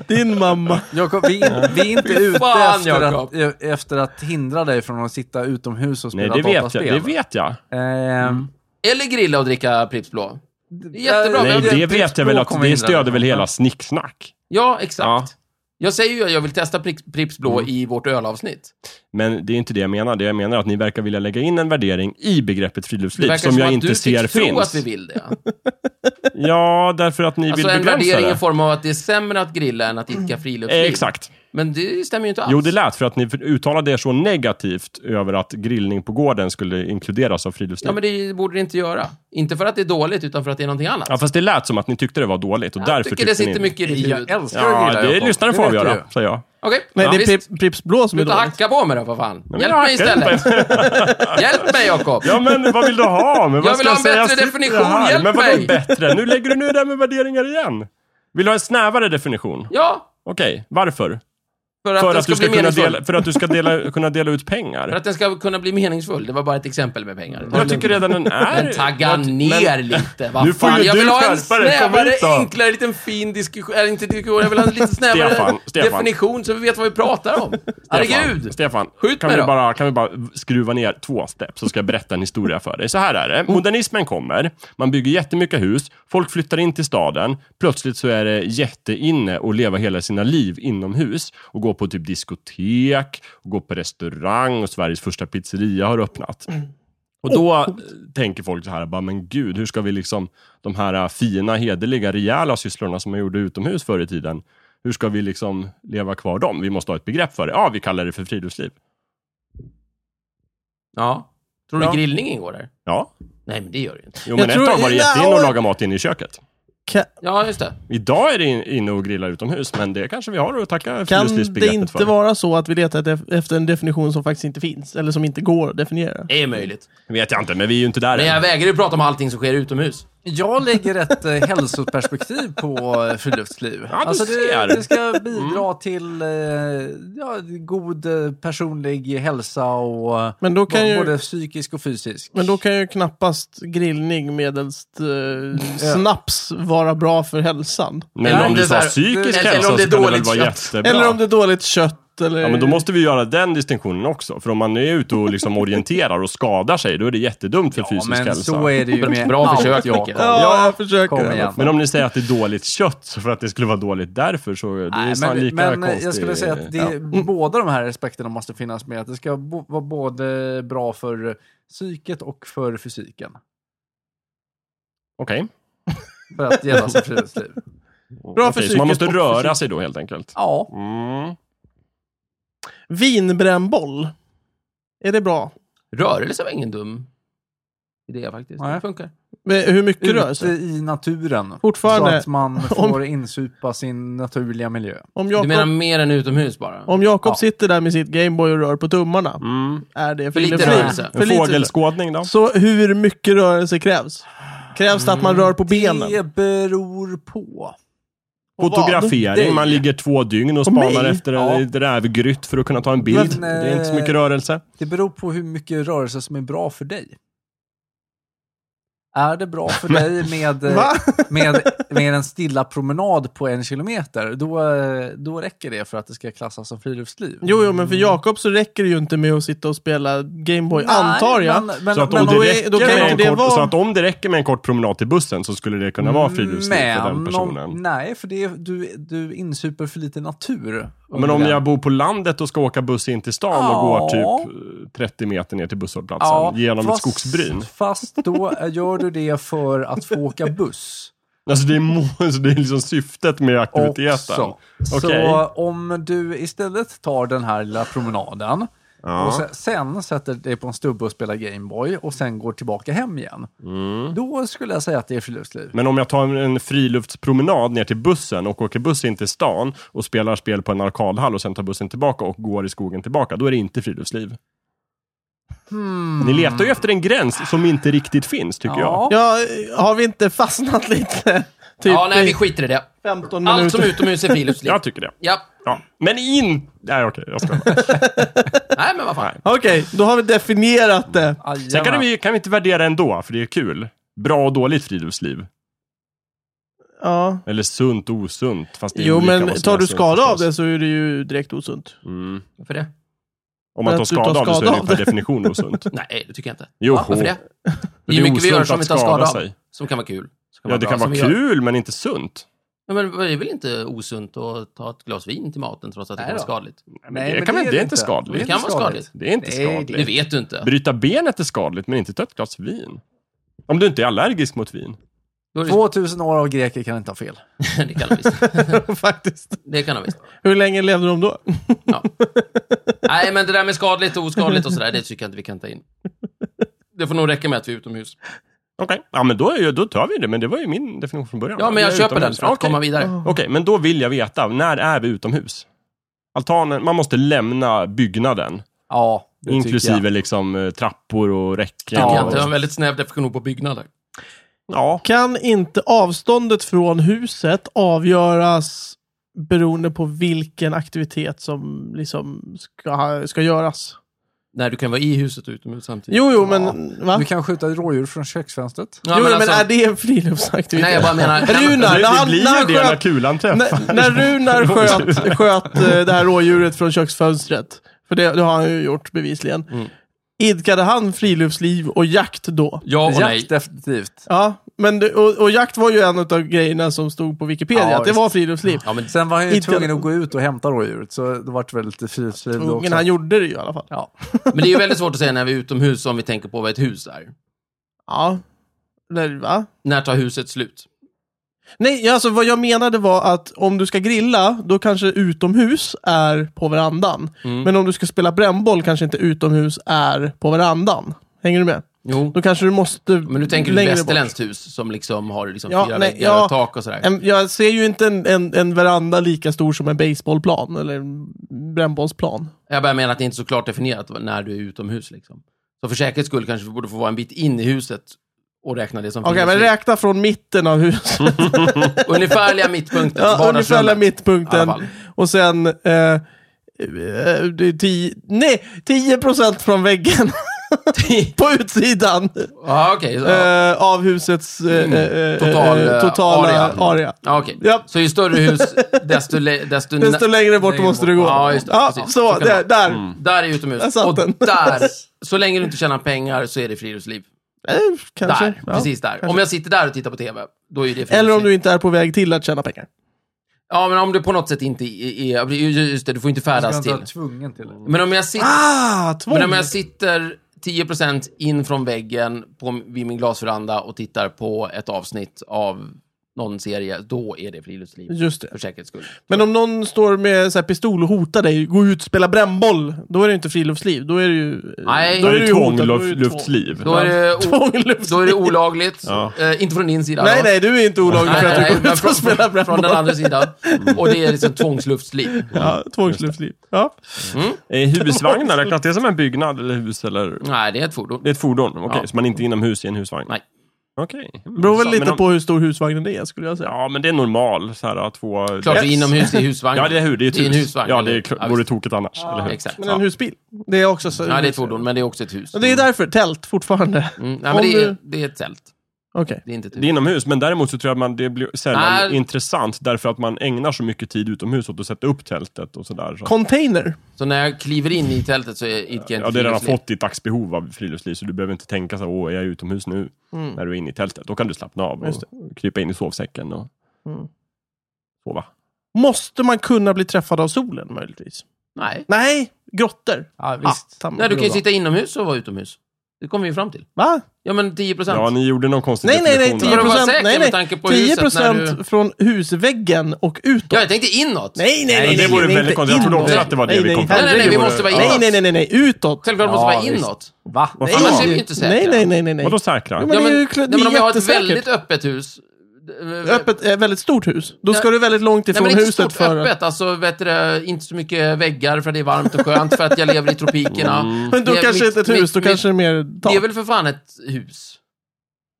A: Din mamma.
C: Jakob, vi, är- vi är inte
B: Fy
C: ute
B: fan,
C: efter att,
B: Jakob.
C: eh, efter att hindra dig från att sitta utomhus och
D: Nej,
C: spela
D: det vet jag.
C: dataspel.
D: Det vet Mm. jag.
C: Ehm,
B: Eller grilla och dricka Pripps Blå. Det är jättebra.
D: Nej,
B: men-
D: det
C: Pripps
D: vet jag
C: Blå
D: väl att
C: kommer
D: det
C: in där.
D: stöder väl hela snicksnack.
B: Ja, exakt.
D: Ja. Mm.
B: Jag säger ju att jag vill testa Pri- Pripps Blå i vårt ölavsnitt.
D: Men det är inte det jag menar. Det jag menar är att ni verkar vilja lägga in en värdering i begreppet
B: Det
D: friluftsliv
B: verkar
D: Typ som, jag
B: att du
D: inte
B: tycks
D: ser
B: tro att
D: finns.
B: vi vill det.
D: Ja, därför att ni
B: Alltså
D: vill
B: en
D: begränsa
B: värdering i
D: det.
B: form av att det är sämre att grilla än att idka friluftsliv.
D: Eh, exakt.
B: Men det stämmer ju inte alls.
D: Jo, det lät för att ni uttalade er så negativt över att grillning på gården skulle inkluderas av friluftsliv.
B: Ja,
D: Ja,
B: men det borde det inte göra. Inte för att det är dåligt, utan för att det är någonting annat.
D: fast det lät som att ni tyckte det var dåligt och
B: jag
D: därför
B: tycker det
D: tyckte
B: sitter
D: ni...
B: mycket i ditt
C: Jag
B: huvud.
C: älskar att
D: Ja,
C: grilla,
D: det är
C: Jakob.
D: lyssnaren får
C: vet du
D: avgöra,
C: ju.
D: säger jag.
B: Okej,
A: Nej, det är
B: visst.
A: Pripps- Pripps Blå som är
B: Sluta
A: dåligt.
B: hacka på mig då, för fan. Hjälp
D: jag
B: mig istället. Hjälp mig, Jakob.
D: Ja, men vad vill du ha? Men vad
B: Jag vill
D: ska
B: ha en
D: säga?
B: bättre
D: Sitter
B: definition,
D: här.
B: hjälp
D: Men vadå
B: mig.
D: bättre? Nu lägger du ner det här med värderingar igen. Vill du ha en snävare definition?
B: Ja,
D: Okej, varför?
B: för att,
D: För
B: den
D: att,
B: ska
D: du ska
B: bli
D: kunna
B: meningsfull.
D: dela, för att du ska dela, kunna dela ut pengar?
B: För att den ska kunna bli meningsfull. Det var bara ett exempel med pengar.
D: jag tycker redan den är...
B: Men tagga
D: jag ty-
B: ner lite. Vad
D: Nu får
B: fan.
D: ju
B: Jag
D: du
B: vill ha en
D: skärpa dig. Kom
B: snävare,
D: hit då.
B: enklare, liten fin diskussion. Eller inte diskussion, jag vill ha en lite snävare
D: Stefan, Stefan.
B: definition så vi vet vad vi pratar om. Herregud.
D: Stefan,
B: Skjut
D: kan
B: mig
D: vi,
B: då.
D: bara, kan vi bara skruva ner två steg så ska jag berätta en historia för dig. Så här är det.
B: Mm.
D: Modernismen kommer, man bygger jättemycket hus, folk flyttar in till staden. Plötsligt så är det jätteinne att leva hela sina liv inomhus och gå på typ diskotek, och gå på restaurang och Sveriges första pizzeria har öppnat. Och då eh, tänker folk så här, bara, men gud, hur ska vi liksom, de här eh, fina, hederliga, rejäla sysslorna som man gjorde utomhus förr i tiden, hur ska vi liksom leva kvar dem? Vi måste ha ett begrepp för det. Ja, vi kallar det för friluftsliv.
B: Ja. Tror du
D: Ja.
B: grillning ingår där?
D: Ja.
B: Nej, men det gör det ju inte.
D: Jo, men ett
A: tror-
D: tag var det
A: Ja,
D: jätteinne
A: och-
D: att laga mat inne i köket.
A: Ka-
B: Ja, just det.
D: Idag är det in- inne att grilla utomhus, men det kanske vi har att tacka
A: Kan det
D: friluftslivsbegreppet
A: inte
D: för.
A: vara så att vi letar def- efter en definition som faktiskt inte finns? Eller som inte går att definiera?
B: Det är möjligt.
D: vet jag inte, men vi är ju inte där
B: Men jag
D: än.
B: vägrar ju prata om allting som sker utomhus.
C: Jag lägger ett eh, hälsoperspektiv på eh, friluftsliv.
D: Ja, du ser. Mm.
C: det, det ska bidra till eh, ja, god eh, personlig hälsa och eh,
A: Men då kan
C: bo-
A: ju-
C: både psykisk och fysisk.
A: Men då kan ju knappast grillning medelst eh, snaps vara bra för hälsan.
D: Men
B: Eller
D: om
B: om det
D: du
B: är så
D: sa
B: här-
D: psykisk
B: eller om
D: hälsa
B: det
D: så
B: är
D: kan det väl
B: dåligt
D: vara
B: kött.
D: jättebra.
A: Eller om det är dåligt kött eller...
D: Ja, men
C: Eh,
D: då måste vi göra den distinktionen också. För om man är ute och liksom orienterar och skadar sig, då är det jättedumt för
C: Ja,
D: fysisk
C: men
D: hälsa.
C: så är det ju med
B: Bra
C: allt,
B: försök,
C: Jakob.
B: Micke.
A: Ja,
C: Ja,
A: jag försöker.
C: kom
A: i alla
C: igen.
A: fall.
D: Men om ni säger att det är dåligt kött så för att det skulle vara dåligt därför, så det är
C: Nej,
D: san-
C: men
D: lika
C: men
D: konstigt.
C: jag skulle säga att det,
A: Mm.
C: båda de här aspekterna måste finnas med. Att det ska bo, vara både bra för psyket och för fysiken.
D: Okej.
C: För att gälla som friluftsliv.
A: Bra för
D: Okej, så man måste
A: psyket och
D: röra
A: fysik.
D: sig då helt enkelt?
C: Ja,
D: Mm.
A: Vinbrännboll. Är det bra?
B: Rörelse var ingen dum idé faktiskt.
C: Nej.
B: Det funkar.
A: Men hur mycket rör
C: Ute
A: sig?
C: i naturen.
A: Fortfarande.
C: Så att man får insupa sin naturliga miljö.
A: Om
B: Du menar
A: Jakob,
B: mer än utomhus bara?
A: om Jakob
C: Ja.
A: sitter där med sitt Gameboy och rör på tummarna,
D: Mm.
A: är det
B: För lite
A: friluftsliv?
B: rörelse.
A: För
D: En
A: lite
D: fågelskådning då?
A: Så hur mycket rörelse krävs? Krävs det att
C: Mm.
A: man rör på benen?
C: Det beror på.
A: Och vad?
D: Fotografering, man ligger två dygn och spanar
A: mig?
D: efter
C: Ja.
D: ett rävgrytt för att kunna ta en bild.
C: Men, eh,
D: det är inte så mycket rörelse.
C: Det beror på hur mycket rörelse som är bra för dig. Är det bra för dig med, eh,
A: Va?
C: med, med en stilla promenad på en kilometer, då, eh, då räcker det för att det ska klassas som friluftsliv.
A: Jo, jo, men för
B: Mm.
A: Jakob så räcker det ju inte med att sitta och spela Gameboy,
C: Nej,
A: antar jag.
C: Men, men,
D: Så att,
C: men,
D: om
A: då
D: det
A: är-
D: räcker
A: då kan
D: med
A: inte
D: en
A: det
D: kort,
A: vara-
D: så att om det räcker med en kort promenad till bussen så skulle det kunna vara friluftsliv för den
C: men
D: personen.
C: Om, nej, för det, du, du insuper för lite natur.
D: Men om jag bor på landet och ska åka buss in till stan och
C: Ja.
D: går typ eh, 30 meter ner till busshållplatsen genom ett
C: fast-
D: skogsbryn.
C: Fast då gör du det för att få åka buss.
D: Alltså det är, må- så det är liksom syftet med aktiviteten.
C: också.
D: Okej.
C: Så om du istället tar den här lilla promenaden
D: Ja.
C: och sen, sen sätter dig på en stubbe och spelar Gameboy och sen går tillbaka hem igen.
D: Mm.
C: Då skulle jag säga att det är friluftsliv.
D: Men om jag tar en- en friluftspromenad ner till bussen och åker buss in till stan och spelar spel på en arkadhall och sen tar bussen tillbaka och går i skogen tillbaka, då är det inte friluftsliv. Ni letar ju efter en gräns som inte riktigt finns, tycker jag.
C: Ja.
A: Hmm. Ja, har vi inte fastnat lite? Typ
B: ja, nej,
A: i
B: vi skiter i det.
A: 15
B: Allt
A: minuter.
B: som är utomhus är friluftsliv.
D: Jag tycker det.
B: ja.
D: Ja. Men in... Nej, okej, jag ska.
B: Nej, men vad fan.
A: Okej, då har vi definierat det.
D: Sen kan
C: Jajamän.
D: vi, kan vi inte värdera ändå, för det är kul. Bra och dåligt friluftsliv.
A: Ja.
D: Eller sunt och osunt. Fast det är
A: Jo,
D: olika
A: men
D: vad som
A: tar
D: är
A: du
D: sunt,
A: skada av
D: förstås.
B: alltså.
A: det så är det ju direkt osunt.
D: Mm.
B: Varför det?
D: Om man
A: Att
D: tar
A: du tar
D: skada av det så är
A: skada
D: det
A: av
D: per
A: det.
D: definition osunt.
B: Nej, det tycker jag inte.
D: Jo,
B: Varför det? Det är mycket vi
D: osunt
B: gör som
D: att
B: vi tar skada
D: skada
B: av.
D: sig.
B: Som kan vara kul. Som kan
D: Ja, det
B: bra,
D: kan
B: som
D: vara
B: vi gör.
D: kul, men inte sunt.
B: Ja, men det är väl inte osunt att ta ett glas vin till maten trots att det
C: Nej
B: kan vara
C: då.
B: skadligt?
D: Nej, men det, kan man, det, är inte skadligt.
B: Det kan vara skadligt.
D: Det är inte
C: Nej, det-
B: Det
D: skadligt.
B: vet du inte.
D: Bryta benet är skadligt, men inte ta ett glas vin. Om du inte är allergisk mot vin.
B: Då är det-
C: 2000 år av greker kan inte ha fel.
B: det kan han visst.
A: Faktiskt.
B: Det kan han visst.
A: Hur länge levde de då?
B: Ja. Nej, men det där med skadligt och oskadligt och sådär, det tycker jag inte vi kan ta in. Det får nog räcka med att vi är utomhus.
D: Okej, ja, men då, är ju, då tar vi det. Men det var ju min definition från början.
B: Ja, men
D: Vi
B: jag
D: är
B: köper den
D: utomhus.
B: för att
D: Okej.
B: komma vidare.
D: Okej, men då vill jag veta, när är vi utomhus? Altanen, man måste lämna byggnaden.
C: Ja, det tycker
D: Inklusive
C: jag.
D: liksom eh, trappor och räcken.
C: Ja.
B: Ja,
D: och,
B: det har en väldigt snäv definition på byggnader.
D: ja.
A: Kan inte avståndet från huset avgöras beroende på vilken aktivitet som liksom ska, ska göras?
B: Nej, du kan vara i huset och utomhus samtidigt.
A: Jo, jo, men... Va?
C: Du kan skjuta rådjur från köksfönstret.
B: Ja,
A: jo, men,
B: alltså-
A: är det en friluftsaktivitet?
B: Nej, jag bara menar...
A: Runar,
D: Det,
A: när
D: det
A: han,
D: blir
A: när
D: ju
A: han
D: det när
A: sköt,
D: kulan
A: när,
D: träffar.
A: när Runar sköt, sköt eh, det här rådjuret från köksfönstret, för det, det har han ju gjort bevisligen,
C: Mm.
A: idkade han friluftsliv och jakt då?
B: Ja och nej.
C: Jakt definitivt.
A: Ja, men det, och, och jakt var ju en av grejerna som stod på Wikipedia,
C: Ja,
A: att det
C: visst.
A: var friluftsliv.
B: Ja, men,
C: Sen var han ju
A: Inte-
C: tvungen att gå ut och hämta rådjuret, så det vart väl lite friluftsliv då
A: Men
C: också.
A: han gjorde det ju i alla fall.
C: Ja.
B: men det är ju väldigt svårt att säga när vi är utomhus om vi tänker på vad ett hus är.
A: Ja. Eller, va?
B: När tar huset slut?
A: Nej, alltså vad jag menade var att om du ska grilla, då kanske utomhus är på verandan.
C: Mm.
A: Men om du ska spela brännboll kanske inte utomhus är på verandan. Hänger du med?
B: Jo.
A: Då kanske du måste
B: Men nu tänker du
A: längre
B: ett
A: bort.
B: västerländskt hus som liksom har liksom
A: Ja,
B: fyra
A: nej,
B: väggar och
A: ja.
B: ett tak och sådär.
A: En, jag ser ju inte en, en, en veranda lika stor som en baseballplan eller en brännbollsplan.
B: Jag bara menar att det inte är så klart definierat när du är utomhus. Liksom. Så för säkerhets skull kanske vi borde få vara en bit in i huset och räkna det som
A: Okej, men
B: friluftsliv.
A: räkna från mitten av huset.
B: Ungefärliga mittpunkten.
A: ja,
B: vardagsrummet.
A: ungefärliga
B: I
A: mittpunkten.
B: alla fall.
A: Och sen... Eh, eh, det är tio, nej, 10 procent från väggen på utsidan
B: Ja, okej. ja.
A: eh, av husets eh, eh,
B: Total,
A: eh,
B: eh,
A: totala
B: area.
A: area.
B: Ja, okej.
A: Ja.
B: Så ju större hus, desto... Le, desto,
A: Desto Mm. längre bort måste du gå.
B: Ja, just det.
A: Ja,
B: precis.
A: så, Mm.
B: kan det
A: där.
B: vara.
A: där.
B: Mm. Där är
A: Där
B: utomhus.
A: satt
B: Och
A: den.
B: där, så länge du inte tjänar pengar så är det friluftsliv.
A: Eh, kanske.
B: där,
A: ja.
B: precis där. Om jag sitter där och tittar på TV, då är det friluftsliv.
A: Eller om du inte är på väg till att tjäna pengar.
B: Ja, men om du på något sätt inte är... är- Just det, du får inte
C: Du ska
B: färdas
C: inte
B: till.
C: vara tvungen till det.
B: Men om jag sitter...
A: Ah, tvång!
B: Men om jag sitter 10% in från väggen på, vid min glasveranda och tittar på ett avsnitt av någon serie, då är det friluftsliv.
A: Just det.
B: För säkerhets skull.
A: Men om någon står med så här pistol och hotar dig, gå ut och spela brännboll. Då är det inte friluftsliv. Då är det ju...
B: Nej.
A: då
D: Då är det
A: du hotad, då är du tvång.
D: tvångluftsliv.
B: Då är det, o- då är det olagligt.
D: Ja.
B: Eh, inte från din sida.
A: Nej,
B: då.
A: nej, du är inte olaglig för att
B: Nej,
A: du
B: nej,
A: går
B: men
A: ut
B: från,
A: och spelar
B: från, från den
A: brännboll.
B: andra sidan. Och det är liksom tvångsluftsliv.
A: Ja, tvångsluftsliv. Ja.
D: Är husvagnar, räknas det som en byggnad eller hus? Eller?
B: Nej, det är ett fordon.
D: Det är ett fordon, okej.
B: Ja.
D: Så man är inte inomhus i en husvagn?
B: Nej.
D: Okej. Okay.
A: Det beror väl lite på hur stor husvagnen är, skulle jag säga.
D: Ja, men det är normal. Så här, två...
B: Klart, det är
A: Yes.
B: inomhus i husvagn.
D: Ja, det är hur. Det är ett
B: Det är en
D: hus.
B: husvagn,
D: Ja, det är,
B: eller?
D: klart-
B: Ja,
D: vore
B: visst.
D: tokigt annars. eller hur?
B: Exakt.
A: Men
B: Ja.
A: en husbil. Det är också så...
B: Nej, det är ett fordon, men det är också ett hus.
A: Men det är därför. Tält, fortfarande.
B: Mm, nej,
A: Om
B: men det är,
A: du-
B: det är ett tält.
A: Okej.
B: Det är inte ett hus.
D: Det är inomhus, men däremot så tror jag att man, det blir sällan
B: Nej.
D: intressant därför att man ägnar så mycket tid utomhus åt att sätta upp tältet och sådär. Så.
A: Container.
B: Så när jag kliver in i tältet så är- idkar jag inte
D: Ja, det har redan
B: friluftsliv.
D: fått ditt dagsbehov av friluftsliv, så du behöver inte tänka så här, åh, är jag utomhus nu?
B: Mm.
D: När du är inne i tältet. Då kan du slappna av och
A: Just
D: krypa in i sovsäcken och
A: Mm.
D: sova.
A: Måste man kunna bli träffad av solen, möjligtvis?
B: Nej.
A: Nej, grottor.
C: Ja,
A: Ah,
C: visst.
A: samma.
B: Nej, du kan ju sitta inomhus och vara utomhus. Det kommer vi ju fram till.
A: Va?
B: Ja, men 10 procent.
D: Ja, ni gjorde någon konstig
A: Nej, nej, nej.
D: definition
A: 10
D: där.
B: För att vara
A: procent.
B: säker
A: Nej,
B: med
A: nej.
B: tanke på
A: 10
B: huset när
A: procent
B: du-
A: från husväggen och utåt.
B: Ja, jag tänkte inåt.
A: Nej, nej, nej.
D: det
A: nej,
D: vore
A: nej,
D: väldigt
A: inte
D: konstigt. Jag trodde också
A: inåt.
D: att det var det
A: nej,
D: vi
A: nej,
D: kom fram
B: till. Nej, nej, nej, vi
A: herregud.
B: måste vara
A: Nej,
B: inåt.
A: nej, nej, nej, nej. Utåt.
B: Självklart
C: Ja,
B: måste vara
C: visst.
B: inåt.
C: Va?
D: Vad
A: Nej.
D: fan?
B: Annars är vi ju inte säkra.
A: Nej, nej, nej, nej. nej.
D: Vadå säkra?
A: Jo,
D: Ja,
A: men-
D: men,
A: det
B: Ja,
A: är ju
B: men,
A: kl-
B: nej,
A: det är
B: men om jag har ett
A: jättesäkert.
B: väldigt öppet hus.
A: Öppet, eh, väldigt stort hus. Då ska
B: Nej.
A: du väldigt långt
B: Nej,
A: ifrån
B: men inte
A: huset
B: stort
A: för att...
B: öppet. Alltså, vet du, det, inte så mycket väggar för det är varmt och skönt för att jag lever i tropikerna.
A: Mm. Men då
B: Det är
A: kanske
B: mitt-
A: inte ett hus,
B: mitt-
A: då
B: mitt-
A: kanske det är mer tak.
B: Det är väl för fan ett hus?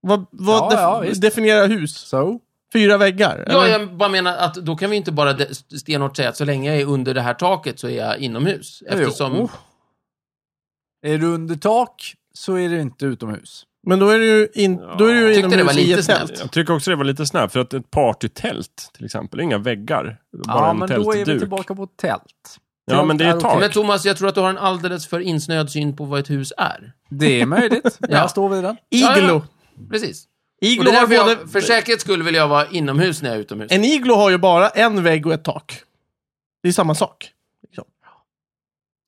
A: Vad, vad
C: Ja,
A: def
C: ja, visst.
A: definierar hus?
C: So?
A: Fyra väggar?
B: Ja,
A: eller?
B: jag bara menar att då kan vi inte bara de- stenhårt säga att så länge jag är under det här taket så är jag inomhus. Eftersom...
A: Oh,
C: Jo. Oh. Är du under tak så är du inte utomhus.
A: Men då är det ju, in, då är det ju
B: Tyckte det var
A: inomhus i
B: lite
A: ett tält.
B: snällt.
D: jag tycker också det var lite snabbt, för att ett partytält till exempel, inga väggar. Bara
C: ja,
D: en
C: men då är vi
D: tältduk.
C: tillbaka på tält.
D: Ja, men det är
C: Tält
D: tak.
B: Men Thomas, jag tror att du har en alldeles för insnöad syn på vad ett hus är.
C: Det är möjligt.
B: Ja.
C: Jag står vid den.
B: Ja,
A: Iglo.
B: Precis. Och
A: Iglo
B: det är
A: har
B: därför
A: både...
B: jag, för säkerhets skull vill jag vara inomhus när jag är utomhus.
A: En iglo har ju bara en vägg och ett tak. Det är samma sak.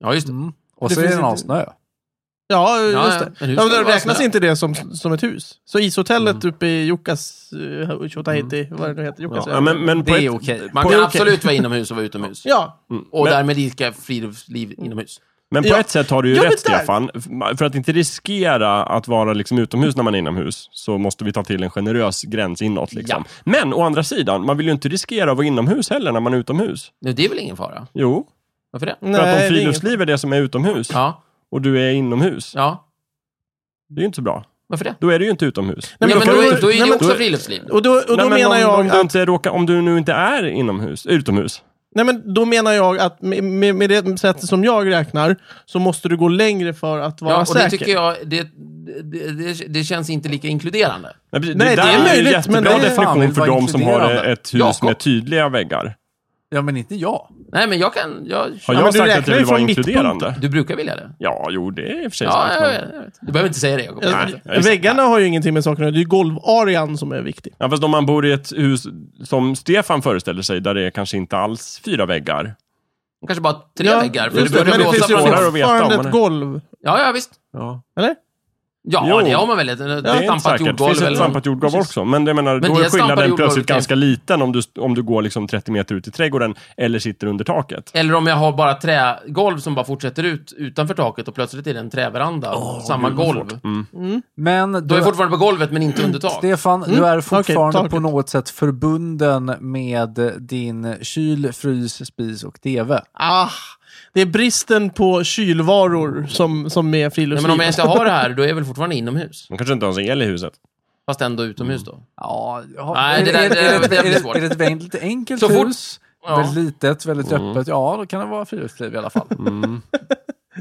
B: Ja, just det.
C: Mm. Och
A: Det
C: så är
A: finns
C: den
A: inte-
C: avsnö.
A: Ja,
B: Ja,
A: just
B: ja.
A: det. Ja,
B: Men
A: men
B: hur ska
A: då
B: det vara
A: räknas
B: snö?
A: inte det som, som ett hus. Så ishotellet uppe i Jokkas... Uh, Tjotahejti, vad det nu heter. Jokkas
D: Ja, men, men på
C: Det är
D: ett,
C: okej.
B: Man
A: På-
B: kan
A: okej.
B: absolut vara inomhus och vara utomhus.
A: ja.
B: Och
D: Men-
B: därmed idka friluftsliv inomhus.
D: Men på
A: Ja.
D: ett sätt har du ju
A: Ja, men
D: rätt,
A: där.
D: Stefan. För att inte riskera att vara liksom utomhus när man är inomhus, så måste vi ta till en generös gräns inåt. Liksom. Men å andra sidan, man vill ju inte riskera att vara inomhus heller när man är utomhus.
B: Nej, det är väl ingen fara?
D: Jo,
B: Varför det?
A: Nej,
D: för att
A: det är
D: om friluftsliv är det som är utomhus
B: Ja,
D: och du är inomhus,
B: ja.
D: det är ju inte så bra.
B: Varför det?
D: Då är det ju inte utomhus.
A: Nej, men
B: Nej, men,
A: då
B: då,
A: kan
B: är,
A: du-
B: då är
A: nej,
B: det
A: men-
B: också friluftsliv.
A: inget- Och då, och då
D: Nej, men
A: menar
D: om,
A: jag...
D: om,
A: att-
D: du inte råkar, om du nu inte är inomhus, utomhus.
A: Nej, men då menar jag att med, med, med det sättet som jag räknar så måste du gå längre för att vara
B: Ja, och
A: säker.
B: det tycker jag, det, det, det, det känns inte lika inkluderande.
D: Nej, precis.
A: Nej,
D: där
A: det är
D: ju en
A: möjligt,
D: jättebra
A: men det är-
C: Fan,
D: definition
C: vill
D: för
C: vara
D: de som har
C: inkluderande.
D: ett hus
B: Jakob.
D: med tydliga väggar.
C: Ja, men inte jag.
B: Nej, men jag kan... Jag,
D: Har
A: Ja,
D: jag
A: men du
D: sagt
A: räknar
D: att jag
A: ju
D: vill vara
A: från
D: inkluderande?
B: du brukar vilja det.
D: Ja, jo, det är i och för sig sant.
B: Ja, jag
D: men-
B: vet, jag vet. Du behöver inte säga det, Jakob.
A: Alltså,
D: Nej, jag är-
A: väggarna har ju ingenting med sakerna att göra. det är ju golvarean som är viktig.
D: Ja, fast om man bor i ett hus som Stefan föreställer sig, där det är kanske inte alls fyra väggar.
B: Kanske bara tre
A: Ja,
B: väggar, för det
A: just det,
B: börjar
A: men det
B: blåsa
A: finns ju
D: på
B: på.
D: dem. Svårare att
A: fortfarande
D: veta om
A: ett
D: man
A: golv.
B: Ja, ja, visst.
D: Ja.
A: Eller?
B: Ja,
D: Jo.
B: det har man väl. Ett,
D: Det är
B: ett
D: inte
B: stampat
D: säkert. Det
B: jordgolv.
D: finns ett
B: Eller
D: stampat jordgolv också. Men jag menar,
B: Men
D: då
B: det
D: är
B: är stampade
D: skillnaden
B: jordgolv
D: plötsligt
B: kan-
D: ganska liten om du, om du går liksom 30 meter ut i trädgården eller sitter under taket.
B: Eller om jag har bara trägolv som bara fortsätter ut utanför taket och plötsligt är det en träveranda. samma golv.
C: Men
B: Då är
C: du-
B: jag fortfarande på golvet men inte under tak.
C: Stefan, du är fortfarande
A: taket.
C: på något sätt förbunden med din kyl, frys, spis och TV.
A: Ah, det är bristen på kylvaror som, som är
B: Nej,
A: friluftsliv.
B: men om jag inte har det här, då är jag väl fortfarande inomhus?
D: Man kanske inte ens har el i huset.
B: Fast ändå utomhus då.
C: Ja, ja,
B: Nej,
C: är-
B: det där-
C: är-
B: det där-
C: är-
B: det där blir
C: är-
B: svårt.
C: Är det ett väldigt lite enkelt
B: Så fort-
C: hus,
B: Ja.
C: väldigt litet, väldigt öppet, ja då kan det vara friluftsliv i alla fall.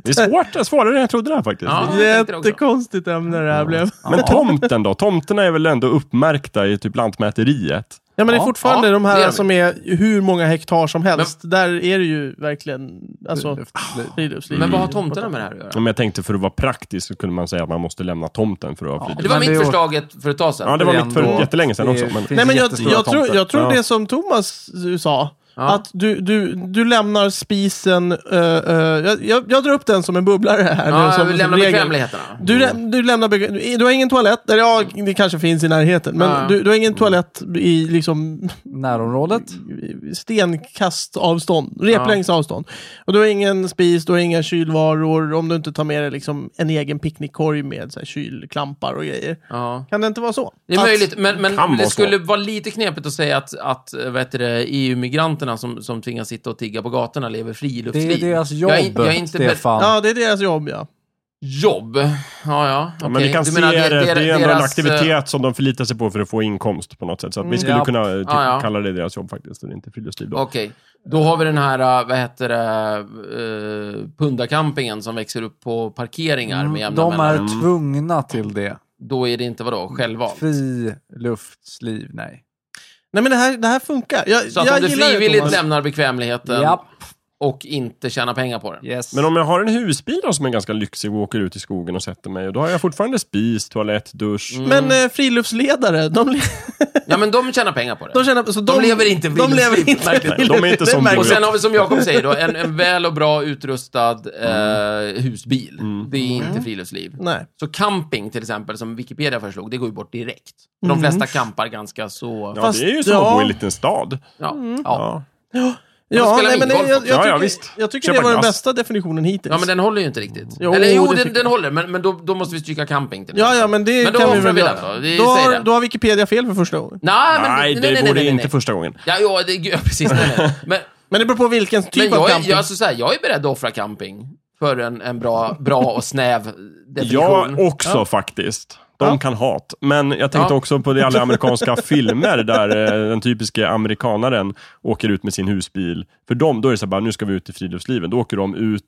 D: Det är svårt. Det är svårare än jag trodde det här faktiskt.
B: Ja. jag tänkte det också.
A: Jättekonstigt ämne det här blev.
D: Men tomten då? Tomterna är väl ändå uppmärkta i typ Lantmäteriet?
A: Ja, men det är
C: Ja,
A: fortfarande
B: ja,
A: de
B: det är
A: här
B: det.
A: som är hur många hektar som helst. Där är det ju verkligen alltså,
C: Friluftsliv.
A: friluftsliv.
B: Men vad har tomterna med det här att göra?
D: Ja, Men jag tänkte för att vara praktisk så kunde man säga att man måste lämna tomten för att ha
B: Det
D: fritid.
B: var
C: Men det
B: mitt
C: är-
B: förslag ett- för ett tag sedan.
D: Ja, det var
C: Det är
D: mitt för
C: ändå-
D: jättelänge sedan
C: det
D: också. Men...
C: finns-
A: Nej, men jag,
C: jättestora
A: jag tror,
C: tomter.
A: jag tror
D: Ja.
A: det som Thomas sa,
B: Ja.
A: Att du, du, du lämnar spisen, eh, eh, jag, jag, jag drar upp den som en bubblare här nu.
B: Ja,
A: Som,
B: vi
A: som
B: lämnar
A: regel.
B: bekvämligheterna.
A: Du, lä- du lämnar beg- du- Du har ingen toalett, eller ja, det kanske finns i närheten, men
B: Ja.
A: du, du har ingen toalett i liksom
C: Närområdet.
A: stenkastavstånd, replängds avstånd. Och du har ingen spis, du har inga kylvaror, om du inte tar med dig liksom en egen picknickkorg med så här, kylklampar och grejer.
B: Ja.
A: Kan det inte vara så?
B: Det är
A: Att-
B: möjligt, men, men
D: Kan vara
B: det
D: så.
B: skulle vara lite knepigt att säga att, att eh, vad heter det, EU-migranterna som, som tvingas sitta och tigga på gatorna lever
C: Det
B: friluftsliv.
C: är deras jobb,
B: Jag är- jag är inte beredd-
C: Stefan.
A: Ja, det är deras jobb ja.
B: Jobb? Ja, ja.
D: Ja, men
B: okej.
D: vi kan
B: Du
D: se
B: menar
D: det,
B: att
D: det,
B: der-
D: är ändå en
B: deras, eh,
D: aktivitet som de förlitar sig på för att få inkomst på något sätt. Så att vi skulle
C: Ja.
D: kunna eh, typ,
B: Ja, ja.
D: kalla det deras jobb faktiskt, och det är inte friluftsliv då.
B: Okej. Då har vi den här, eh, vad heter det, uh, pundacampingen som växer upp på parkeringar med jämna
C: Mm, De
B: mellanrum.
C: är tvungna till det.
B: Då är det inte, vadå, självvalt?
C: Friluftsliv, nej.
A: Nej men det här, det här funkar. Jag,
B: Så att
A: jag
B: om du
A: gillar det
B: frivilligt
A: Thomas.
B: lämnar bekvämligheten
C: Japp.
B: och inte tjänar pengar på den.
C: Yes.
D: Men om jag har en husbil då, som är ganska lyxig och åker ut i skogen och sätter mig, och då har jag fortfarande spis, toalett, dusch.
B: Mm.
A: Men eh, friluftsledare, de, le-
B: Ja, men de tjänar pengar på det.
A: de känner... Så de,
B: lever inte
A: De lever
B: friluftsliv,
A: inte
B: verkligen.
D: Nej, de är inte
A: Det
D: som du.
A: märker
B: Och
A: jag.
B: sen har vi som Jakob säger då, en, en väl och bra utrustad eh, husbil. Det är inte friluftsliv.
A: Mm. Nej.
B: Så camping till exempel, som Wikipedia föreslog, det går ju bort direkt. De flesta campar ganska så... Ja,
D: Ja,
A: Fast-
D: det är ju som
A: Mm. ja. Mm.
D: att bo i en liten stad.
B: ja.
D: Ja.
B: spelar
A: Ja,
B: vi
A: nej, men jag,
B: golf
A: jag,
B: också?
D: Ja, ja,
A: tycker,
D: visst.
A: jag tycker
D: Köpa
A: det var den
D: glass.
A: bästa definitionen hittills.
B: men den håller ju inte riktigt.
A: Jo,
B: Eller jo,
A: det
B: den,
A: tycker
B: den håller, men, men då, då måste vi stryka camping till
A: Ja, ja, men det
B: Men då
A: kan vi
B: offrar
A: väl
B: vi den
A: göra.
B: då. Vi
A: Då
B: säger
A: har,
B: det.
A: då har Wikipedia fel för första gången.
B: Nej, men,
D: Nej, det vore inte första gången.
B: Ja, ja, det, ja precis. Nej, nej. Men,
A: Men det beror på vilken typ
B: men
A: av
B: jag, är,
A: camping.
B: jag, alltså, så här, jag är beredd att offra camping för en, en bra, bra och snäv definition.
D: Jag också faktiskt. De
A: Ja.
D: kan hat. Men jag tänkte
B: Ja.
D: också på de alla amerikanska filmer där eh, den typiska amerikanaren åker ut med sin husbil. För dem, då är det så här, bara, nu ska vi ut i friluftslivet. Då åker de ut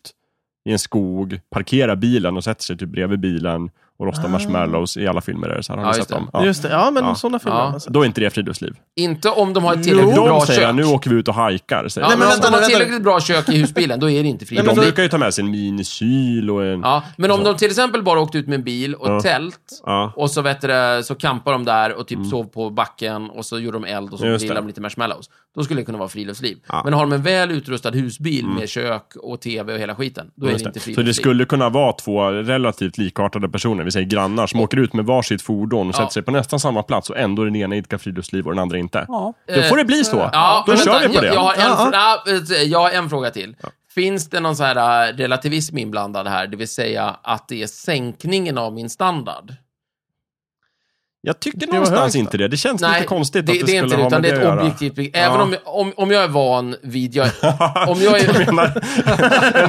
D: i en skog, parkerar bilen och sätter sig typ bredvid bilen och rostar marshmallows. I alla filmer är det så här. Har
B: Ah. Ja,
D: ni
B: just
D: sett
B: det.
D: dem? Ja.
A: Just det, ja men
D: Ja.
A: sådana filmer.
B: Ja.
A: har man sett.
D: Då är inte det friluftsliv.
B: Inte om de har ett
D: För
B: tillräckligt bra
D: de
B: kök.
D: säger jag, nu åker vi ut och hajkar. Säger
B: Ja,
A: Nej,
D: de.
B: men
A: men
B: om de
A: vänta
B: har
A: nu,
B: tillräckligt bra kök i husbilen, då är det inte
A: Nej,
D: de
A: men-
B: frivilligt.
D: brukar ju ta med sig en minikyl och en...
B: Ja, men om de till exempel bara åkte ut med bil och
D: Ja.
B: tält
D: Ja. Mm.
B: och så, vet du, det, så kampade de där och typ sov på backen och så gjorde de eld och så
D: Just
B: grillade
D: det.
B: de lite marshmallows. Då skulle det kunna vara friluftsliv.
D: Ja. Mm.
B: Men har de en väl utrustad husbil med kök och tv och hela skiten, då är
D: Just
B: det inte
D: det. Så
B: friluftsliv.
D: det skulle kunna vara två relativt likartade personer, vi säger grannar, som åker ut med varsitt fordon och
B: Ja.
D: sätter sig på nästan samma plats och ändå den ena idkar friluftsliv och den andra inte.
C: Ja.
D: Då får det bli så.
B: Eh, Ja,
D: Då
B: men
D: kör
B: vänta,
D: vi på det.
B: Jag, jag, har en,
A: Ja,
B: fr- ah, eh, jag har en fråga till. Finns det någon så här eh, relativism inblandad här, det vill säga att det är sänkningen av min standard?
D: Jag tycker
A: var högt
D: någonstans
A: då.
D: inte det. Det känns lite konstigt
B: det,
D: att det,
B: det är
D: skulle
B: inte det, utan
D: ha
B: det
D: med
B: är ett
D: att göra.
B: objektivt begrepp. Även
D: Ja.
B: om, om, om jag är van vid... Jag, om jag
D: Jag
B: är...
D: menar,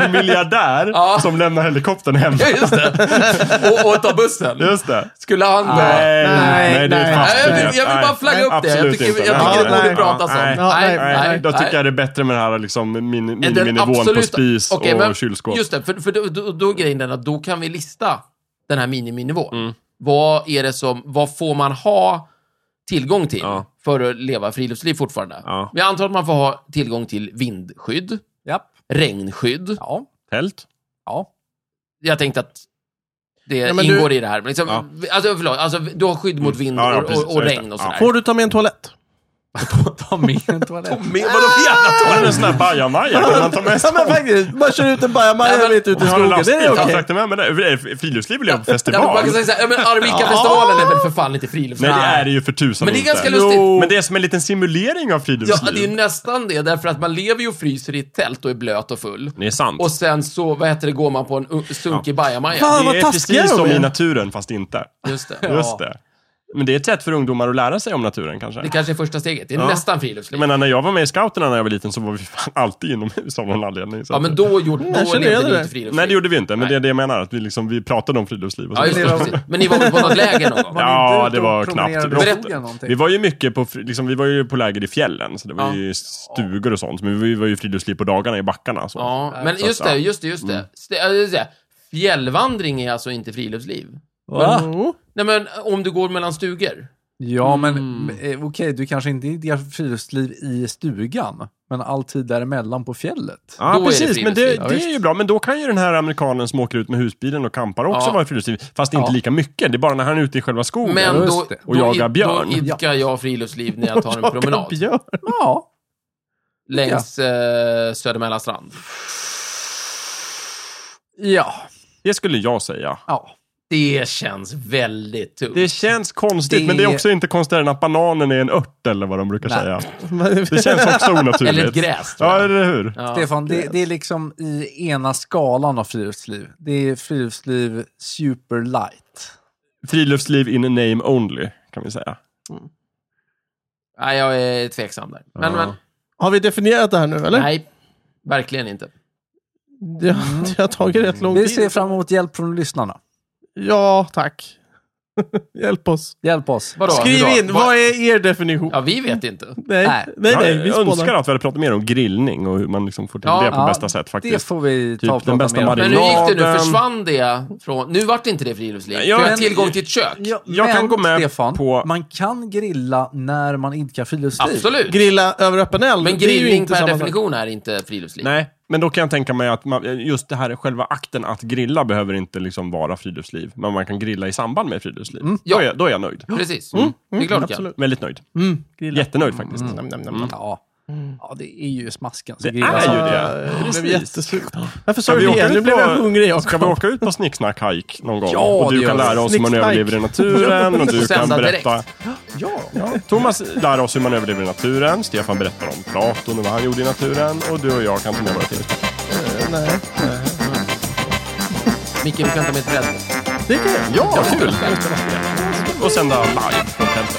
D: en miljardär
B: Ja.
D: som lämnar helikoptern hem.
B: Ja, just det. Och, och ta bussen.
D: Just det.
B: Skulle han då...
D: Nej,
A: nej,
D: nej, det är
A: nej.
D: fast
B: Nej, jag
D: idé.
B: vill- jag vill bara
D: Nej,
B: flagga
D: nej,
B: upp det. Jag
D: absolut
B: tycker-
D: inte.
B: jag tycker
D: Ja,
A: det borde
D: nej,
B: pratas om.
D: nej,
A: Ja, nej,
D: Nej,
A: nej.
D: då tycker
B: nej.
D: jag det är bättre med den här liksom, min,
B: Den
D: miniminivån på
B: absoluta-
D: spis
B: Okej,
D: och
B: men-
D: kylskåp.
B: Just det, för, för då, då, då är grejen den att då kan vi lista den här miniminivån.
D: Mm.
B: Vad är det som, vad får man ha tillgång till
D: Ja.
B: för att leva friluftsliv fortfarande?
D: Ja.
B: Men jag antar att man får ha tillgång till vindskydd,
C: Japp.
B: regnskydd.
C: Ja.
D: Tält?
C: Ja.
B: Jag tänkte att det
A: Ja, men
B: ingår
A: du-
B: i det här. Men liksom,
D: Ja. Mm.
B: Alltså, förlåt, alltså, du har skydd mot vind
D: Ja, ja,
B: och-
D: precis,
B: och,
D: så
B: och
D: är det.
B: regn och
D: Ja.
B: sådär.
A: Får du ta med en toalett?
C: Ta med en toalett.
B: Men vadå för jävla
D: Då är det en sån här bajamaja. Kan man ta med
A: Ja men faktiskt, bara kör ut en bajamaja
B: Nej, men-
A: mitt ute i
D: Jag har en
A: skogen. Det
D: lastbil,
A: är
D: jag
A: okej.
D: fraktar med mig det. Eh, Friluftsliv vill jag på
B: Ja, men man
D: festival.
B: kan säga såhär, ja, men Arvika-festivalen är väl för fan inte
D: Nej,
B: friluftsliv?
D: det är det ju för tusan
B: Men det är
D: inte.
B: ganska lustigt.
D: Men det är som en liten simulering av
B: Ja,
D: friluftsliv.
B: det är nästan det, därför att man lever ju och fryser i ett tält och är blöt och full.
D: Det är sant.
B: Och sen så, vad heter det, går man på en u- sunkig bajamaja.
A: Fan.
D: det
A: vad
D: är
A: taskiga
D: precis
A: de
D: som
A: är.
D: i naturen, fast inte.
B: Just det.
D: Just det. Men det är ett sätt för ungdomar att lära sig om naturen kanske.
B: Det kanske är första steget. Det är
D: Ja.
B: nästan
D: Jag
B: friluftsliv.
D: menar, när jag var med i scouterna när jag var liten så var vi fan alltid inomhus av någon anledning. Så
B: Ja,
D: att-
B: men då gjorde
A: jag
B: då
A: känner
B: levde
A: igen
B: ni
A: det
B: inte
A: där.
B: friluftsliv.
D: Nej, det gjorde vi inte. Men
B: Nej.
D: det är det jag menar, att vi, liksom, vi pratade om friluftsliv och
B: Ja,
D: så.
B: just det. precis. Men ni var väl på något läger någon gång?
D: Ja,
C: Man är inte
D: det
C: ute och
D: var
C: promenerar
D: knappt.
C: i
D: Berätta.
C: skogen någonting.
D: Vi var ju mycket på, fri- liksom, vi var ju på läger i fjällen, så det var
B: Typ. Ja.
D: ju stugor och sånt. Men vi var ju friluftsliv på dagarna i backarna. Så.
B: Ja, men
D: Så att, Mm.
B: just det, just det, just det. Ste- ja, just det. Fjällvandring är alltså inte friluftsliv.
C: Va?
A: Jo.
B: Nej, men om du går mellan stugor.
C: Ja, men
D: Mm.
C: eh, okej, du kanske inte är i deras friluftsliv i stugan, men alltid däremellan på fjället.
D: Ja,
B: Då är det
D: precis. men det,
B: friluftsliv.
C: Ja,
D: det
C: visst.
D: är ju bra. Men då kan ju den här amerikanen som åker ut med husbilen och kampar också
B: Ja.
D: vara i friluftsliv. Fast inte
C: Ja.
D: lika mycket. Det är bara när han är ute i själva skogen.
B: Men
C: just
B: då,
C: det.
B: då,
D: Och jagar
B: id-
D: björn.
B: då idkar jag friluftsliv när jag tar en promenad.
A: Björn.
C: Ja.
B: längs eh, Södermälarstrand.
C: Ja.
D: Det skulle jag säga.
C: ja.
B: Det känns väldigt tungt.
D: Det känns konstigt,
C: Det-
D: men det är också inte konstigare än att bananen är en ört eller vad de brukar
C: Nej.
D: säga. Det känns också onaturligt.
B: Eller ett gräs, tror
D: Ja,
B: jag.
D: eller hur?
B: Ja.
C: Stefan, det, det är liksom i ena skalan av friluftsliv. Det är friluftsliv super light.
D: Friluftsliv in name only, kan vi säga.
B: Nej, jag är tveksam där. Men,
D: Ja.
B: men,
A: Har vi definierat det här nu eller?
B: nej. Mm. Verkligen inte.
A: Det, det har tagit rätt lång
C: Vi ser
A: tid.
C: fram emot hjälp från lyssnarna.
A: Ja, tack. Hjälp oss.
C: Hjälp oss.
B: Vadå?
A: Skriv
B: Hur då?
A: in, vad är er definition?
B: Ja, vi vet inte.
A: Nej,
C: Nej.
A: nej, nej,
D: jag
A: vi
D: önskar
A: spånar.
D: att vi hade pratat mer om grillning och hur man liksom får till
B: Ja,
D: det på
C: ja,
D: bästa sätt
C: Det
D: faktiskt.
C: får vi ta
D: Typ
C: och
D: den
C: prata
D: bästa
C: mer om.
D: Marie-
B: Men hur gick det nu?
D: Laden.
B: Försvann det från... Nu vart det inte det friluftsliv.
D: Ja,
B: Ja, jag har
D: men-
B: tillgång till ett kök.
C: Ja,
D: Jag
C: men,
D: kan gå med
C: Stefan,
D: på-
C: man kan grilla när man idkar friluftsliv.
B: Absolut.
A: Grilla över öppen eld.
B: Men
A: det är ju
B: grillning
A: inte
B: per
A: samma sak.
B: definition är inte friluftsliv.
D: Nej, men då kan jag tänka mig att man, just det här själva akten att grilla behöver inte liksom vara friluftsliv, men man kan grilla i samband med friluftsliv. Då, är jag, då är jag nöjd.
B: Precis. det är klart du kan.
A: Mm, absolut.
D: Väldigt nöjd.
A: Mm, grilla.
D: Jättenöjd faktiskt.
A: Mm. Nam, nam, nam.
C: Ja. ja, det är ju smasken. som
D: Mm. Det
C: grillar.
D: är ju
A: Ja,
D: det.
A: Jag blev jättesugna. Varför sa
D: Ska
A: du
D: vi åka
A: det?
D: ut
A: Nu blev
D: på-
A: jag hungrig
D: Ska vi
A: Jakob.
D: åka ut på snicksnack hike någon gång?
C: Ja,
D: och
C: det
D: du
C: gör
D: kan
C: vi.
D: lära oss hur man
A: Snicksnack.
D: överlever i naturen och du kan
B: Sända
D: berätta...
B: direkt.
C: Ja.
D: Thomas lär oss hur man överlever i naturen, Stefan berättar om Platon och vad han gjorde i naturen och du och jag kan ta med våra tv
A: Nej,
B: Micke, vi kan ta med ett bräde.
A: det kan jag.
D: Ja, kul! Och sända live från tältet.